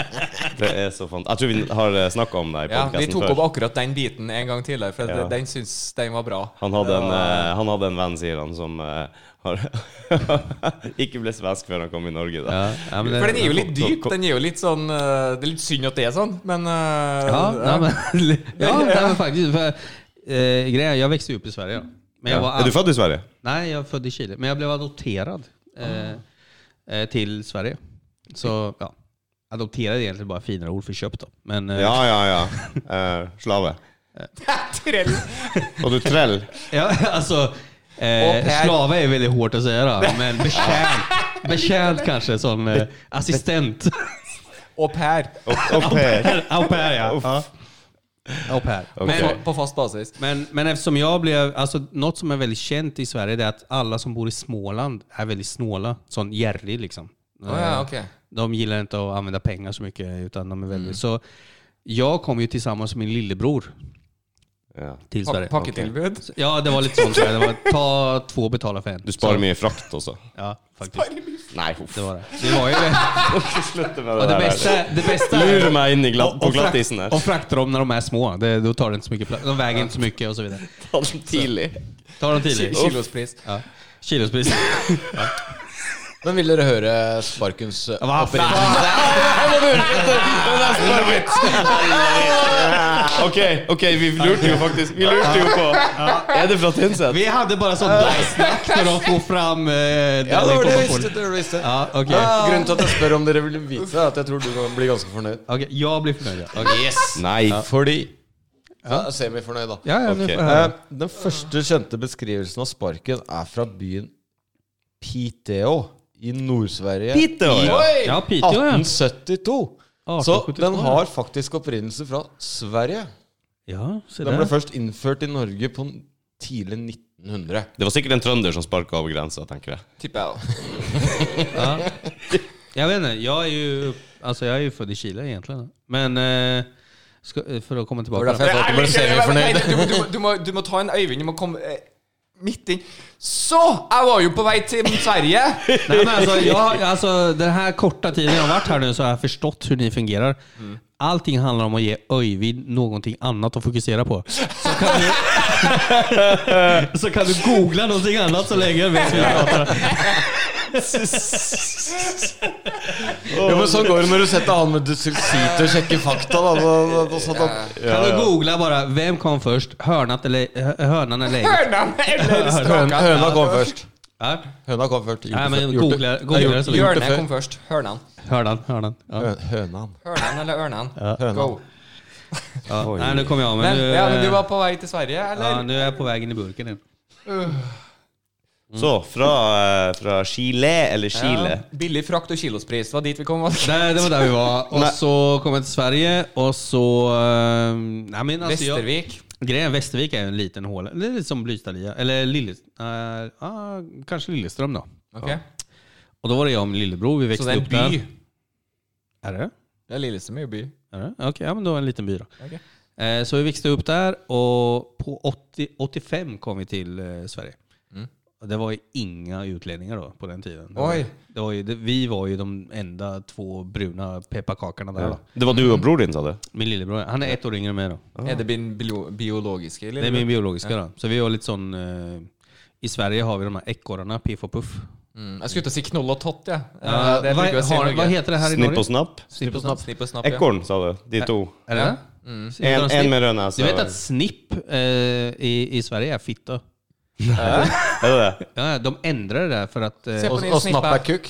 Speaker 1: Det er så fant... Jeg tror vi har snakka om det i
Speaker 4: Ja, vi
Speaker 1: podkasten
Speaker 4: tok opp
Speaker 1: før.
Speaker 4: akkurat den biten en gang tidligere, for
Speaker 1: Ja.
Speaker 4: den syns den var bra.
Speaker 1: Han hadde, en, eh, han hadde en venn, sier han, som eh, har ikke ble svensk før han kom i Norge. Da.
Speaker 3: Ja, ja, men det-
Speaker 4: For den er jo litt
Speaker 1: kom-
Speaker 4: dyp.
Speaker 1: kom-
Speaker 4: Den er jo litt sånn eh, Det er litt synd at det er sånn, men eh,
Speaker 3: Ja,
Speaker 4: ja.
Speaker 3: nej, men, ja nej, men faktiskt. För, eh, grejen, är, jag växte upp i Sverige. då. Men jag var
Speaker 1: Er du født i Sverige?
Speaker 3: Nej, jag är född i Chile. Men jag blev adopterad eh, eh, till Sverige. Så ja, Adopterad är egentligen bara ett finare ord för köpt då. Men eh,
Speaker 1: Ja, ja, ja. Eh, slave.
Speaker 4: Trell.
Speaker 1: Og du trell.
Speaker 3: ja, alltså, eh, slava är väldigt hårt att säga då, men betjänt, betjänt kanske som eh, assistent.
Speaker 4: Au pair.
Speaker 1: Au au pair.
Speaker 3: Au pair ja. ja. Au pair. Men,
Speaker 1: Okej.
Speaker 4: På fast basis.
Speaker 3: men, men eftersom jag blev, alltså något som är väldigt känt i Sverige det är att alla som bor i Småland är väldigt snåla. Sån järrig liksom.
Speaker 4: Å ja, ok.
Speaker 3: De gillar inte att använda pengar så mycket. Utan de är väldigt,
Speaker 1: Mm.
Speaker 3: Så jag kom ju tillsammans med min lillebror
Speaker 1: Ja.
Speaker 3: till
Speaker 4: Pa
Speaker 3: Sverige.
Speaker 4: pakketilbud.
Speaker 3: Ja, det var lite sånt. så här. Det var ta två, betala för en.
Speaker 1: Du sparer
Speaker 3: Så-
Speaker 1: mye frakt også.
Speaker 3: Ja, faktiskt.
Speaker 1: Nei, huff.
Speaker 3: Det var det. Det var ju det.
Speaker 1: Slutt med
Speaker 3: Och
Speaker 1: det
Speaker 3: det bästa,
Speaker 1: der.
Speaker 3: det bästa
Speaker 1: Lur meg inn i glatt, på
Speaker 3: och frakt-
Speaker 1: glattisen der.
Speaker 3: Och frakta dem när de är små. Det, då tar det inte så mycket plats. De väger inte så mycket och så vidare.
Speaker 1: Tidlig.
Speaker 3: Ta dem tidigt.
Speaker 4: Kilospris.
Speaker 3: Ja. Kilospris.
Speaker 5: Men vil dere høre sparkens eh,
Speaker 3: Vad fan?
Speaker 1: Ok, ok, vi lurte jo faktisk Vi lurte jo på Er det fra Tynset?
Speaker 3: Vi hade bara sånt snack när de får fram... Eh,
Speaker 5: Ja, det var det
Speaker 3: Coca-Cola.
Speaker 5: jeg visste. Det var det jeg visste.
Speaker 3: Ja, okej.
Speaker 1: Ah.
Speaker 5: Grunnen til at jeg spør om dere vil vite, er at jeg tror du kan bli ganske fornøyd.
Speaker 3: Okej, jag blir förnöjd. ja.
Speaker 1: Yes. Nei, fordi
Speaker 5: Ja, Semifornøyd, da.
Speaker 3: Ja, ja, nu
Speaker 1: Okej.
Speaker 3: får jag höra.
Speaker 5: Eh, Den første kjente beskrivelsen av sparken er fra byen Piteå i Nord-Sverige.
Speaker 1: Piteå, ja.
Speaker 5: I
Speaker 3: Ja, Piteå ja.
Speaker 5: 1872. Så
Speaker 3: 1872,
Speaker 5: den
Speaker 3: ja.
Speaker 5: har faktisk opprinnelse fra Sverige.
Speaker 3: Ja, se
Speaker 5: Den ble
Speaker 3: där.
Speaker 5: først innført i Norge på n- tidlig 1900.
Speaker 1: Det var sikkert en trønder som sparket over grensa, tenker jeg
Speaker 4: Tipper jeg. da.
Speaker 3: Ja. Jag vet inte, jag är ju... Alltså jag är ju född i Chile egentligen. Men... Eh, ska, för att komma tillbaka...
Speaker 5: derfor jeg sa at du ble
Speaker 4: Nei,
Speaker 5: semifornøyd.
Speaker 4: nei, du- du- du må- Du må ta en Øyvind, du må komme eh, midt inn. Så! Jeg var jo på vei til Sverige!
Speaker 3: Nej, men altså, alltså, jag, alltså, altså, den här korta tiden jag har varit här nu så har jag förstått hur ni fungerar.
Speaker 4: Mm.
Speaker 3: Allting handlar om att ge Öyvind någonting annat att fokusera på. Så kan du, så kan du googla någonting annat så länge medan vi pratar.
Speaker 5: Jo, men sånn går det når du setter han med dysleksi til å sjekke fakta. Da, da, da, da, satt han-
Speaker 3: Kan du googla bara, vem kom først? Hörnat eller, hö- hönan eller ägget?
Speaker 4: Høna eller
Speaker 5: Høna,
Speaker 4: straka.
Speaker 5: høna kom først.
Speaker 3: Ja.
Speaker 5: Høna kom først. Gjort
Speaker 3: Nej,
Speaker 5: det
Speaker 3: men
Speaker 5: før- gjort det-
Speaker 3: googla, googla det så länge.
Speaker 5: det
Speaker 4: Hjørnet
Speaker 5: før.
Speaker 4: kom først. Hørnan.
Speaker 3: Hörnan, hörnan. Ja.
Speaker 5: Hø- Hønan.
Speaker 4: Hørnan eller ørnan?
Speaker 5: Høna.
Speaker 4: Go.
Speaker 3: Ja. Nej, nu kommer jag av mig.
Speaker 4: Men,
Speaker 3: Nu,
Speaker 4: ja, men du
Speaker 3: eh,
Speaker 4: var på vei til Sverige,
Speaker 3: ja,
Speaker 4: eller?
Speaker 3: nu är jag på vägen i burken igen.
Speaker 1: Mm. Så, fra, eh, fra Chile eller Chile
Speaker 4: Billig frakt og kilospris. Det var dit vi kom. var det ikke?
Speaker 3: Nej, det var där vi var. Och
Speaker 1: Nej.
Speaker 3: så kom jeg till Sverige och så... eh, nej, men alltså jag-
Speaker 4: Vestervik.
Speaker 3: Grejen Västervik är ju en liten håla. Det är lite som Blystadlia. Eller Lille, eh, ah, kanske Lilleström då.
Speaker 4: Ok.
Speaker 3: Och då var det jag och min lillebror. Vi
Speaker 4: Så
Speaker 3: växte
Speaker 4: det er en
Speaker 3: upp
Speaker 4: by.
Speaker 3: där. Är det?
Speaker 4: Det er Lillestrøm er jo by.
Speaker 3: Är det? Okej, ja, men då en liten by då.
Speaker 4: Okej.
Speaker 3: Eh, så vi växte upp där och på 80, 85 kom vi till eh, Sverige. Och Det var ju inga utlänningar då på den tiden. Det var,
Speaker 4: Mm. Oj.
Speaker 3: det var ju, det, vi var ju de enda två bruna pepparkakorna där då.
Speaker 1: Det var du og bror din, sa du?
Speaker 3: Min lillebror, han är ett år yngre än mig då.
Speaker 4: Er det bin- bio- biologiske, eller?
Speaker 3: Det är min biologiska då. Så vi var lite sån... Eh, I Sverige har vi de här ekorrarna, Piff och Puff.
Speaker 4: Mm, Jeg skulle til å si knoll og tott, jeg.
Speaker 3: Ja,
Speaker 4: Eh, Det
Speaker 3: vad,
Speaker 4: bruker vi å si i
Speaker 3: har, vad
Speaker 4: Norge.
Speaker 3: heter det här i
Speaker 1: Snipp
Speaker 3: Norge?
Speaker 1: og snapp?
Speaker 4: Snipp og snapp. Snipp og snapp, ja.
Speaker 1: Ekorn, sa du. De to.
Speaker 3: Är det det?
Speaker 4: Mm.
Speaker 3: Så heter
Speaker 1: En,
Speaker 3: de
Speaker 1: en
Speaker 3: snipp.
Speaker 1: med altså. rød
Speaker 3: Du
Speaker 1: nese.
Speaker 3: vet att snipp eh, i, i Sverige är fitta.
Speaker 1: Er det det?
Speaker 3: Ja, de ändrade det där för att... Eh,
Speaker 4: Se på
Speaker 5: Og,
Speaker 4: den
Speaker 5: og snapp
Speaker 4: snippa.
Speaker 5: er kukk.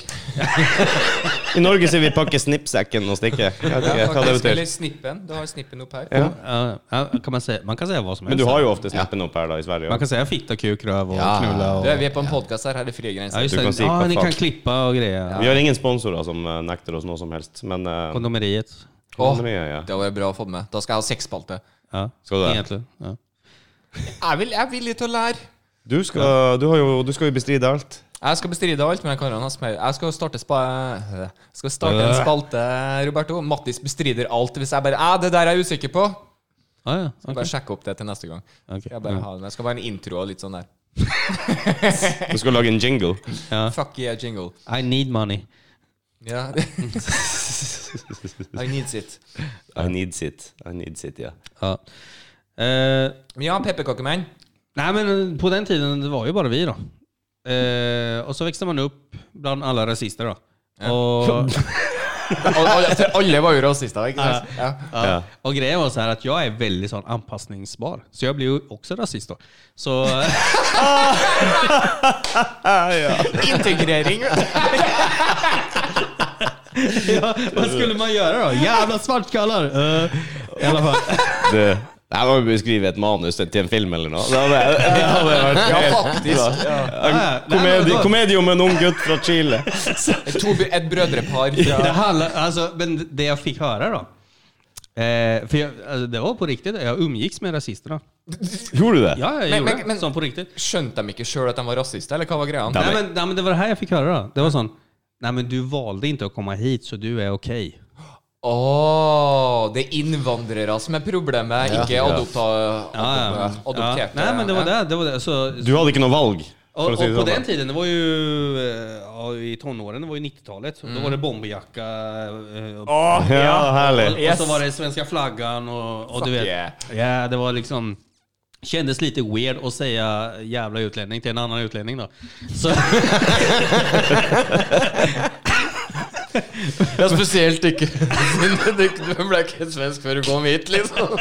Speaker 1: I Norge sier vi 'pakke snippsekken og stikke'. Hva
Speaker 4: Ja,
Speaker 1: hva det
Speaker 4: faktisk,
Speaker 1: betyr
Speaker 4: eller snippen. Du har snippen opp her.
Speaker 1: Ja.
Speaker 3: ja, ja, kan man, säga, man kan säga vad som
Speaker 1: Men
Speaker 3: helst.
Speaker 1: du har jo ofte snippen opp her da, i Sverige.
Speaker 3: Man kan
Speaker 1: også.
Speaker 3: säga fitta, kuk, röv och
Speaker 5: Ja.
Speaker 3: knulla. Och,
Speaker 4: Du, vi er på en podcast her. Her er det frie
Speaker 3: ja,
Speaker 4: grenser.
Speaker 3: just
Speaker 1: Du
Speaker 3: det.
Speaker 1: kan säga
Speaker 3: ja,
Speaker 1: vad
Speaker 3: ni
Speaker 1: fan.
Speaker 3: kan klippa och grejer.
Speaker 1: Vi har ingen sponsorer som eh, nekter oss noe som helst, men eh,
Speaker 3: Kondomeriet.
Speaker 4: Åh,
Speaker 1: men ja, ja.
Speaker 4: det var bra å få det med. Da skal jeg ha seksspalte.
Speaker 3: Ja,
Speaker 1: Ska du det?
Speaker 3: egentligen. Ja.
Speaker 4: Jeg, vil, jeg er villig til å lære.
Speaker 1: du, skal, du, har jo, du skal jo bestride alt.
Speaker 4: Jeg skal bestride alt, men jeg kan ha smør. Jeg skal starte, spa øh, skal starte en spalte, Roberto. Mattis bestrider alt. Hvis jeg bare «Ah, det der er jeg usikker på.
Speaker 3: Ja, ja. okej.
Speaker 4: Bare sjekke opp det til neste gang.
Speaker 3: Okej. Mm.
Speaker 4: Skal jeg bare ha den. Det skal være en intro og litt sånn der.
Speaker 1: Du skal lage en jingle.
Speaker 4: Fuck yeah, jingle.
Speaker 3: I need money.
Speaker 4: Ja. I needs it.
Speaker 1: I need it. I need it, ja.
Speaker 3: Ja. Eh,
Speaker 4: Men ja, pepperkakemenn.
Speaker 3: Nej men på den tiden det var ju bara vi då. Eh, och så växte man upp bland alla rasister då. Och,
Speaker 4: Alle var jo rasister, ikke sant? Ja.
Speaker 1: ja.
Speaker 3: och grejen var så här att jag är väldigt sån sånn anpassningsbar. Så jag blev ju också rasist då. Så,
Speaker 4: Integrering.
Speaker 3: ja, vad skulle man göra då? Jävla svartskallar! Eh, I alla fall.
Speaker 1: Det, det her må vi beskrive et manus til en film eller noe. Det hadde, det hadde vært
Speaker 4: Ja, altså-
Speaker 1: helt-
Speaker 4: faktisk.
Speaker 1: Ja, Komedie, komedie om en ung gutt fra Chile.
Speaker 4: To, br- et brødrepar
Speaker 3: Det
Speaker 4: fra
Speaker 3: handlar, alltså, men det jag fick höra då. Eh, för jag, alltså, det var på riktigt, jeg umgicks med rasisterna.
Speaker 1: Gjorde du det?
Speaker 3: Ja, jag
Speaker 4: Men-
Speaker 3: gjorde
Speaker 4: men- men-
Speaker 3: det. Som på riktigt.
Speaker 4: Skjønte de ikke sjøl at de var rasister, eller hva var greia?
Speaker 1: Ja,
Speaker 3: Nej
Speaker 1: men-
Speaker 3: men, nej men det var det här jag fick höra då. Det var sån, nej men du valde inte att komma hit så du är okej.
Speaker 4: Åh, det er innvandrere som er problemet, ikke adopta,
Speaker 3: Ja,
Speaker 4: adopta,
Speaker 3: ja. ja.
Speaker 4: adopterte.
Speaker 3: Nej men det var
Speaker 4: Ja.
Speaker 3: det. det, var det. Så,
Speaker 1: Du hadde ikke noe valg?
Speaker 3: Och,
Speaker 1: For å
Speaker 3: och
Speaker 1: si det
Speaker 3: på den
Speaker 1: sånn.
Speaker 3: tiden, det var ju eh, ja, i tonåren, det var ju 90-talet. Då var
Speaker 4: Mm.
Speaker 3: det bomberjacka. eh, och-
Speaker 1: Åh, ja,
Speaker 3: Och,
Speaker 1: herlig.
Speaker 3: och så var det svenska flaggan och, och du
Speaker 4: Fuck
Speaker 3: vet.
Speaker 4: yeah.
Speaker 3: Ja, det var liksom... Kändes lite weird att säga jävla utlänning till en annan utlänning då. Så,
Speaker 5: Ja, spesielt ikke Du ble ikke svensk før du kom hit, liksom.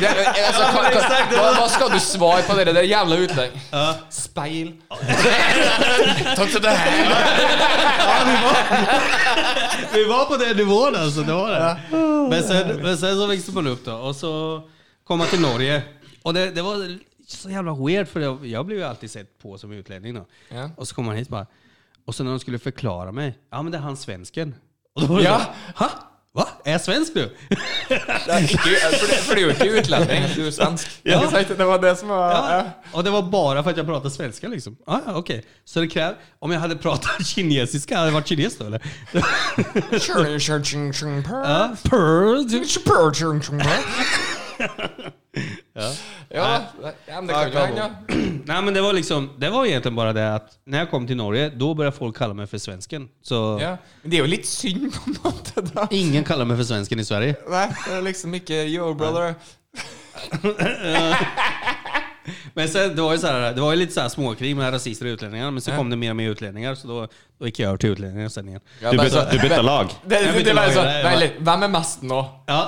Speaker 4: Det, altså, hva, hva, hva, hva skal du svare på det der jævla utlending? Speil.
Speaker 5: Takk til deg.
Speaker 3: vi var på den nivån alltså, det var det. Men sen, men sen så liksom växte man upp då och så kom man till Norge. Och det, det var så jävla weird för jag, jag blev ju alltid sett på som utlänning då.
Speaker 4: Ja.
Speaker 3: Och så kom man hit bara. Och så när de skulle förklara mig. Ja men det är han svensken. Och då var det
Speaker 4: Ja.
Speaker 3: så, Ha? Va? Är jeg svensk nu?
Speaker 4: Det er ikke, for, det, for det er jo ikke utlending, du er svensk.
Speaker 3: Ja.
Speaker 4: Ikke sant? Det var det som var
Speaker 3: Ja. Och det var bara för att jag pratade svenska liksom. Ah, ja, okej. Så det kräv, om jag hade pratat kinesiska, hade jag varit kines då eller?
Speaker 4: Tjern, tjern, tjern, tjern, purr.
Speaker 3: Ja, purr.
Speaker 4: Tjern, purr, tjern, tjern, purr. Ja, ja, men det kan jo hende. ja.
Speaker 3: Nej men det var liksom, det var egentligen bara det att när jag kom till Norge, då började folk kalla mig för svensken. Så
Speaker 4: Ja. Men det er jo litt synd på en måte, da.
Speaker 3: ingen kallar mig för svensken i Sverige.
Speaker 4: Nei, det er liksom ikke yo, brother.
Speaker 3: Men sen, det var ju så här, det var ju lite så här småkrig med rasister och utlänningar, men så kom det mer och mer utlänningar, så då, då gick jag över till utlänningar sen igen.
Speaker 4: Ja,
Speaker 1: Du
Speaker 4: bare
Speaker 1: bytta,
Speaker 4: så-
Speaker 1: du bytta lag?
Speaker 4: Det, det, det er bare
Speaker 3: lager
Speaker 4: sånn
Speaker 3: det,
Speaker 4: Nei,
Speaker 3: ja.
Speaker 4: litt, Hvem er mest nå?
Speaker 3: Ja,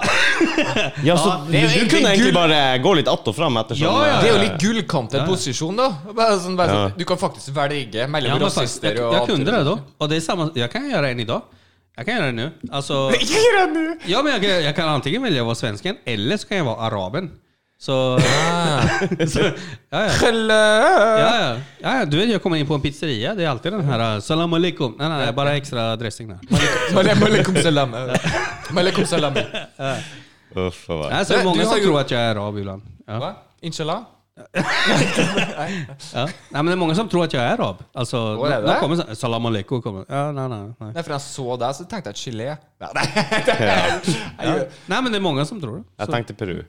Speaker 1: Ja, så du,
Speaker 4: det er jo
Speaker 1: du
Speaker 4: egentlig
Speaker 1: kunne
Speaker 4: gull.
Speaker 1: egentlig bare gå litt att og fram ettersom eh,
Speaker 3: Ja, ja, ja.
Speaker 4: Det er jo litt gullkantet posisjon, da. Bare sånn, bare sånn,
Speaker 1: Ja.
Speaker 4: Du kan faktisk velge mellom
Speaker 3: ja men faktiskt, jag,
Speaker 4: rasister og
Speaker 3: jag kunde det
Speaker 4: antirasister.
Speaker 3: då. Och det är samma, jag kan göra en idag. Jag kan göra det nu. Alltså,
Speaker 4: Ikke gjør det nå!
Speaker 3: ja, men jag, kan- jag kan antingen välja att vara svensken, eller så kan jag vara araben. Så,
Speaker 4: Ah.
Speaker 3: så ja, ja.
Speaker 4: Eller-
Speaker 3: Ja, ja. ja, ja. Du vet, jag kommer in på en pizzeria. Det är alltid den här eh, Salam alaikum. Nej, nej, bara extra dressing där.
Speaker 4: Male- Malekum salam. Malekum salam.
Speaker 1: Uff a meg.
Speaker 3: Nej, så det är
Speaker 4: Du
Speaker 3: många
Speaker 4: har
Speaker 3: som
Speaker 4: ju-
Speaker 3: tror att jag är arab ibland. Ja.
Speaker 4: Hva? Inshallah?
Speaker 3: Ja. Nej, men det är många som tror att jag är arab. Alltså,
Speaker 4: är
Speaker 3: de,
Speaker 4: det?
Speaker 3: de kommer så här, Salam alaikum. Kommer. Ja, nej, nej, nej.
Speaker 4: Nei, for jeg så deg, så tenkte jeg gelé.
Speaker 3: Ja. nej, men det är många som tror det.
Speaker 1: Jeg tenkte Peru.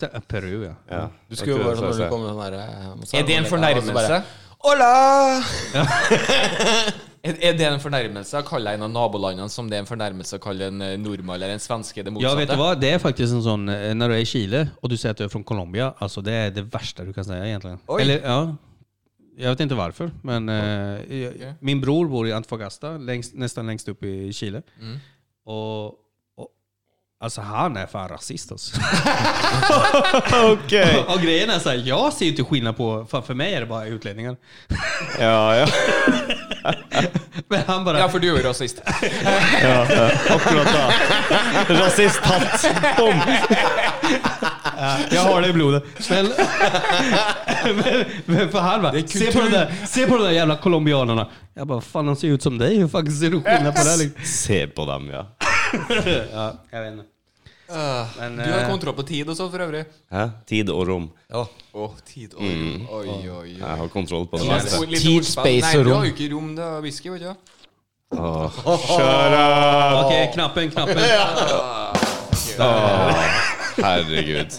Speaker 3: Te- eh, Peru, ja.
Speaker 1: Ja.
Speaker 5: Du skulle jo
Speaker 1: Jeg
Speaker 5: bare
Speaker 1: tror
Speaker 5: sånn når
Speaker 1: det
Speaker 5: du
Speaker 1: var
Speaker 5: kom med den derre
Speaker 4: Er det
Speaker 3: altså,
Speaker 4: en fornærmelse?
Speaker 5: Hola!
Speaker 4: Er er det en fornærmelse å kalle en av nabolandene som det er en fornærmelse å kalle en eh, nordmann eller en svenske? Det
Speaker 3: Ja, vet du
Speaker 4: motsatte?
Speaker 3: vad? Det är faktiskt en sånn eh, När du är i Chile och du säger att du är från Colombia, alltså det är det värsta du kan säga egentligen.
Speaker 4: Oj.
Speaker 3: Eller, ja, jag vet inte varför, men eh, jag-
Speaker 4: Okej.
Speaker 3: min bror bor i Antofagasta, längst, nästan längst upp i Chile.
Speaker 4: Mm.
Speaker 3: Och, och Alltså han är fan rasist altså. alltså.
Speaker 1: Ok.
Speaker 3: Och grejen är såhär, jag ser ju inte skillnad på, fan, för mig är det bara utlänningar.
Speaker 1: Ja, ja.
Speaker 3: Men han bara,
Speaker 4: Ja, for du er jo rasist.
Speaker 1: Akkurat da. Rasisthatt. Bom!
Speaker 3: jag har det i blodet. Men, men, men för han bara, se på, de där, se på de där jävla colombianerna. Jag bara, fan de ser ut som dig, hur fan ser du skillnad på det här liksom?
Speaker 1: Se på dem, ja.
Speaker 3: Ja, jag vet inte. Men,
Speaker 4: Ah, Du har
Speaker 3: eh,
Speaker 4: kontroll på tid og så, for øvrig.
Speaker 1: Hæ? Tid og rom.
Speaker 4: Ja. tid og rom. Oi, oi, oi.
Speaker 1: Jeg har kontroll på det
Speaker 4: Ja,
Speaker 1: meste.
Speaker 4: ord- litt
Speaker 5: Tid,
Speaker 4: ordspill.
Speaker 5: space og
Speaker 4: Nei, du
Speaker 5: rom.
Speaker 4: har jo ikke rom, det er whisky, vet du.
Speaker 1: Kjør av!
Speaker 3: Okej, knappen, knappen.
Speaker 1: Herregud.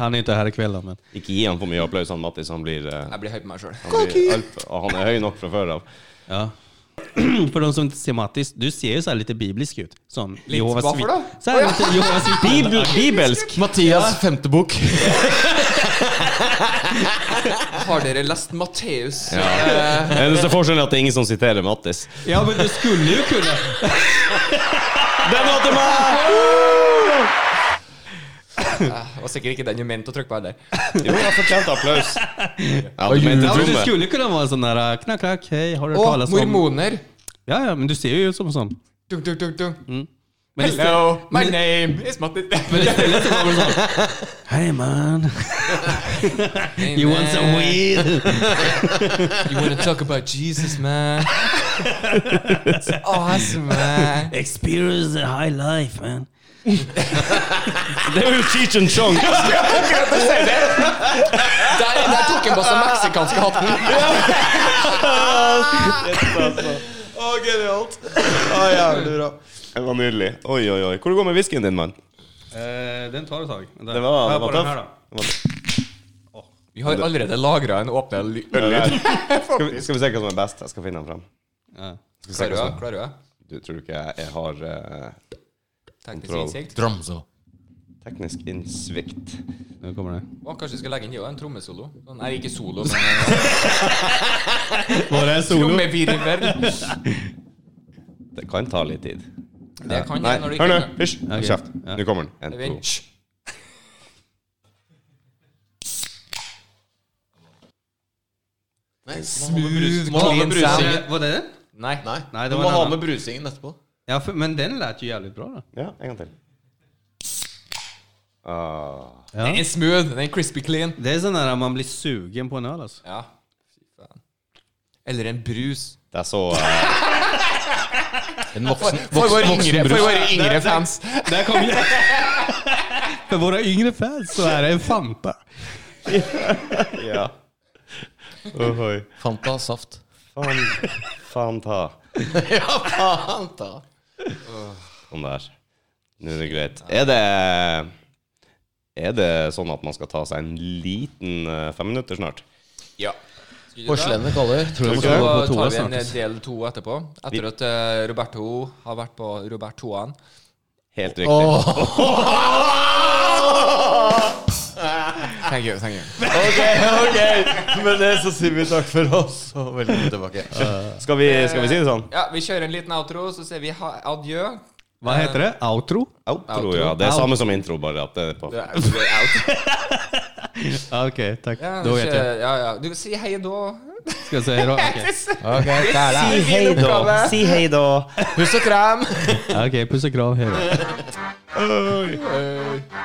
Speaker 3: Han är inte här ikväll då, men.
Speaker 1: Ikke gi han for mye applaus, han Mattis. Han blir, eh,
Speaker 4: Jeg blir høy på meg sjøl.
Speaker 1: han, blir alt, og han er høy nok fra før av.
Speaker 3: Ja. För de som inte ser Mattis, du ser ju så här lite biblisk ut. Som Jehovas
Speaker 4: varför då?
Speaker 3: vittnen. Så här lite Jehovas vittnen.
Speaker 1: Bibelsk!
Speaker 5: Mathias femte bok.
Speaker 4: Har dere lest Matteus?
Speaker 1: Eneste forskjellen er at det er ingen som siterer Mattis.
Speaker 3: Ja, men du skulle ju kunna.
Speaker 1: Den var til meg!
Speaker 4: Det var sikkert ikke den du mente å trykke på heller.
Speaker 1: Jo, jeg fortjente applaus. Ja, du mente
Speaker 3: Ja, men du
Speaker 1: tromme.
Speaker 3: skulle kunna vara en sånn der knack, knack, äh, hej, har du hört
Speaker 4: Og
Speaker 3: talas om...
Speaker 4: mormoner.
Speaker 3: Ja, ja, men du ser ju ut som en sån.
Speaker 4: Dunk, dunk, dunk, dunk.
Speaker 3: Men i stedet-
Speaker 4: Hello, my name is Matti.
Speaker 3: men i stedet så var det sånn Hei, man. You want some weed?
Speaker 4: You wanna talk about Jesus, man? It's awesome, man.
Speaker 3: Experience the high life, man.
Speaker 1: Det er jo Cheech and Chong!
Speaker 4: Der, der tok han på seg meksikanske hatten.
Speaker 5: Å, genialt! Å, jævlig bra.
Speaker 1: Det var nydelig. Oi, oi, oi. Hvor det går det med whiskyen din, mann?
Speaker 3: Eh, den tar et tak.
Speaker 1: Det var,
Speaker 3: Hør
Speaker 1: det
Speaker 3: på
Speaker 1: var
Speaker 3: den her, da.
Speaker 1: tøff. Det var-
Speaker 4: Vi har allerede lagra en åpne ly-
Speaker 1: det der. Skal vi, skal vi se hva som er best? Jeg skal finne den frem.
Speaker 3: Ja.
Speaker 1: Skal vi se
Speaker 4: Klarer
Speaker 1: hva
Speaker 4: du det? Klarer
Speaker 1: som er.
Speaker 4: du det?
Speaker 1: Du tror ikke jeg jeg har eh,
Speaker 4: Teknisk
Speaker 1: Kontroll.
Speaker 4: innsikt.
Speaker 5: Dramsa.
Speaker 1: teknisk innsvikt?
Speaker 3: Nå kommer det.
Speaker 4: Å, kanskje vi skal legge inn det også, en trommesolo? Sånn, Nei, ikke solo, men
Speaker 3: Var det
Speaker 4: trommevirvel.
Speaker 1: Det kan ta litt tid.
Speaker 4: Det kan
Speaker 1: Nei,
Speaker 4: jeg når du
Speaker 1: hør nå!
Speaker 4: ikke
Speaker 1: Hysj! Hold
Speaker 3: Ok.
Speaker 1: Kjeft.
Speaker 3: Ja.
Speaker 1: Nå kommer den. En,
Speaker 4: Vent.
Speaker 1: to.
Speaker 4: Hysj. Smooth, clean sound.
Speaker 3: Var det den?
Speaker 4: Nei.
Speaker 5: Nei,
Speaker 3: Nei, det
Speaker 5: du
Speaker 3: var
Speaker 5: må
Speaker 3: en
Speaker 5: ha
Speaker 3: annen.
Speaker 5: med brusingen etterpå.
Speaker 3: Ja, for, men den lærte jo jævlig bra, da.
Speaker 1: Ja, en gang til. Ah.
Speaker 4: Den er smooth. Den er crispy clean.
Speaker 3: Det er sånn der man blir sugen på en øl, altså.
Speaker 4: Ja. Fy faen. Eller en brus.
Speaker 1: Det er så eh,
Speaker 5: En voksen,
Speaker 4: For våre yngre, for våre yngre fans.
Speaker 3: Der kom jeg. For våre yngre fans så er det en Fanta.
Speaker 1: Ja. Ohoi.
Speaker 5: Fanta saft.
Speaker 1: Faen, faen ta.
Speaker 5: ja, Fanta.
Speaker 1: Sånn der. Nå er det greit. Er det Er det sånn at man skal ta seg en liten eh, femminutter snart?
Speaker 4: Ja.
Speaker 5: Porselenet kaller. Tror
Speaker 1: Tror
Speaker 5: jeg må gå på
Speaker 4: Så tar
Speaker 5: toa
Speaker 4: vi en
Speaker 5: snart.
Speaker 4: del to etterpå. Etter at eh, Roberto har vært på Robertoan.
Speaker 1: Helt riktig.
Speaker 5: Åh,
Speaker 4: Thank you, thank you.
Speaker 5: ok, ok. Med det så sier vi takk for oss, og velkommen tilbake.
Speaker 1: Skal, vi, skal vi si det sånn?
Speaker 4: Ja, vi kjører en liten outro, så sier vi ha adjø.
Speaker 3: Hva heter det? Outro?
Speaker 1: Outro, ja. Det er samme som intro, bare at det er på
Speaker 4: Det er- det er outro.
Speaker 3: Ja, Ah, ok, takk.
Speaker 4: Ja,
Speaker 3: da vet
Speaker 4: ikke-
Speaker 3: jeg.
Speaker 4: Ja, ja. Du kan si hei da.
Speaker 3: Skal jeg si hei da? Ok,
Speaker 5: Ok, der er
Speaker 1: Si hei da! Si hei da!
Speaker 4: Puss og krem!
Speaker 3: ja, ok, puss og kram. Hei da.
Speaker 1: Oi.
Speaker 4: Hei.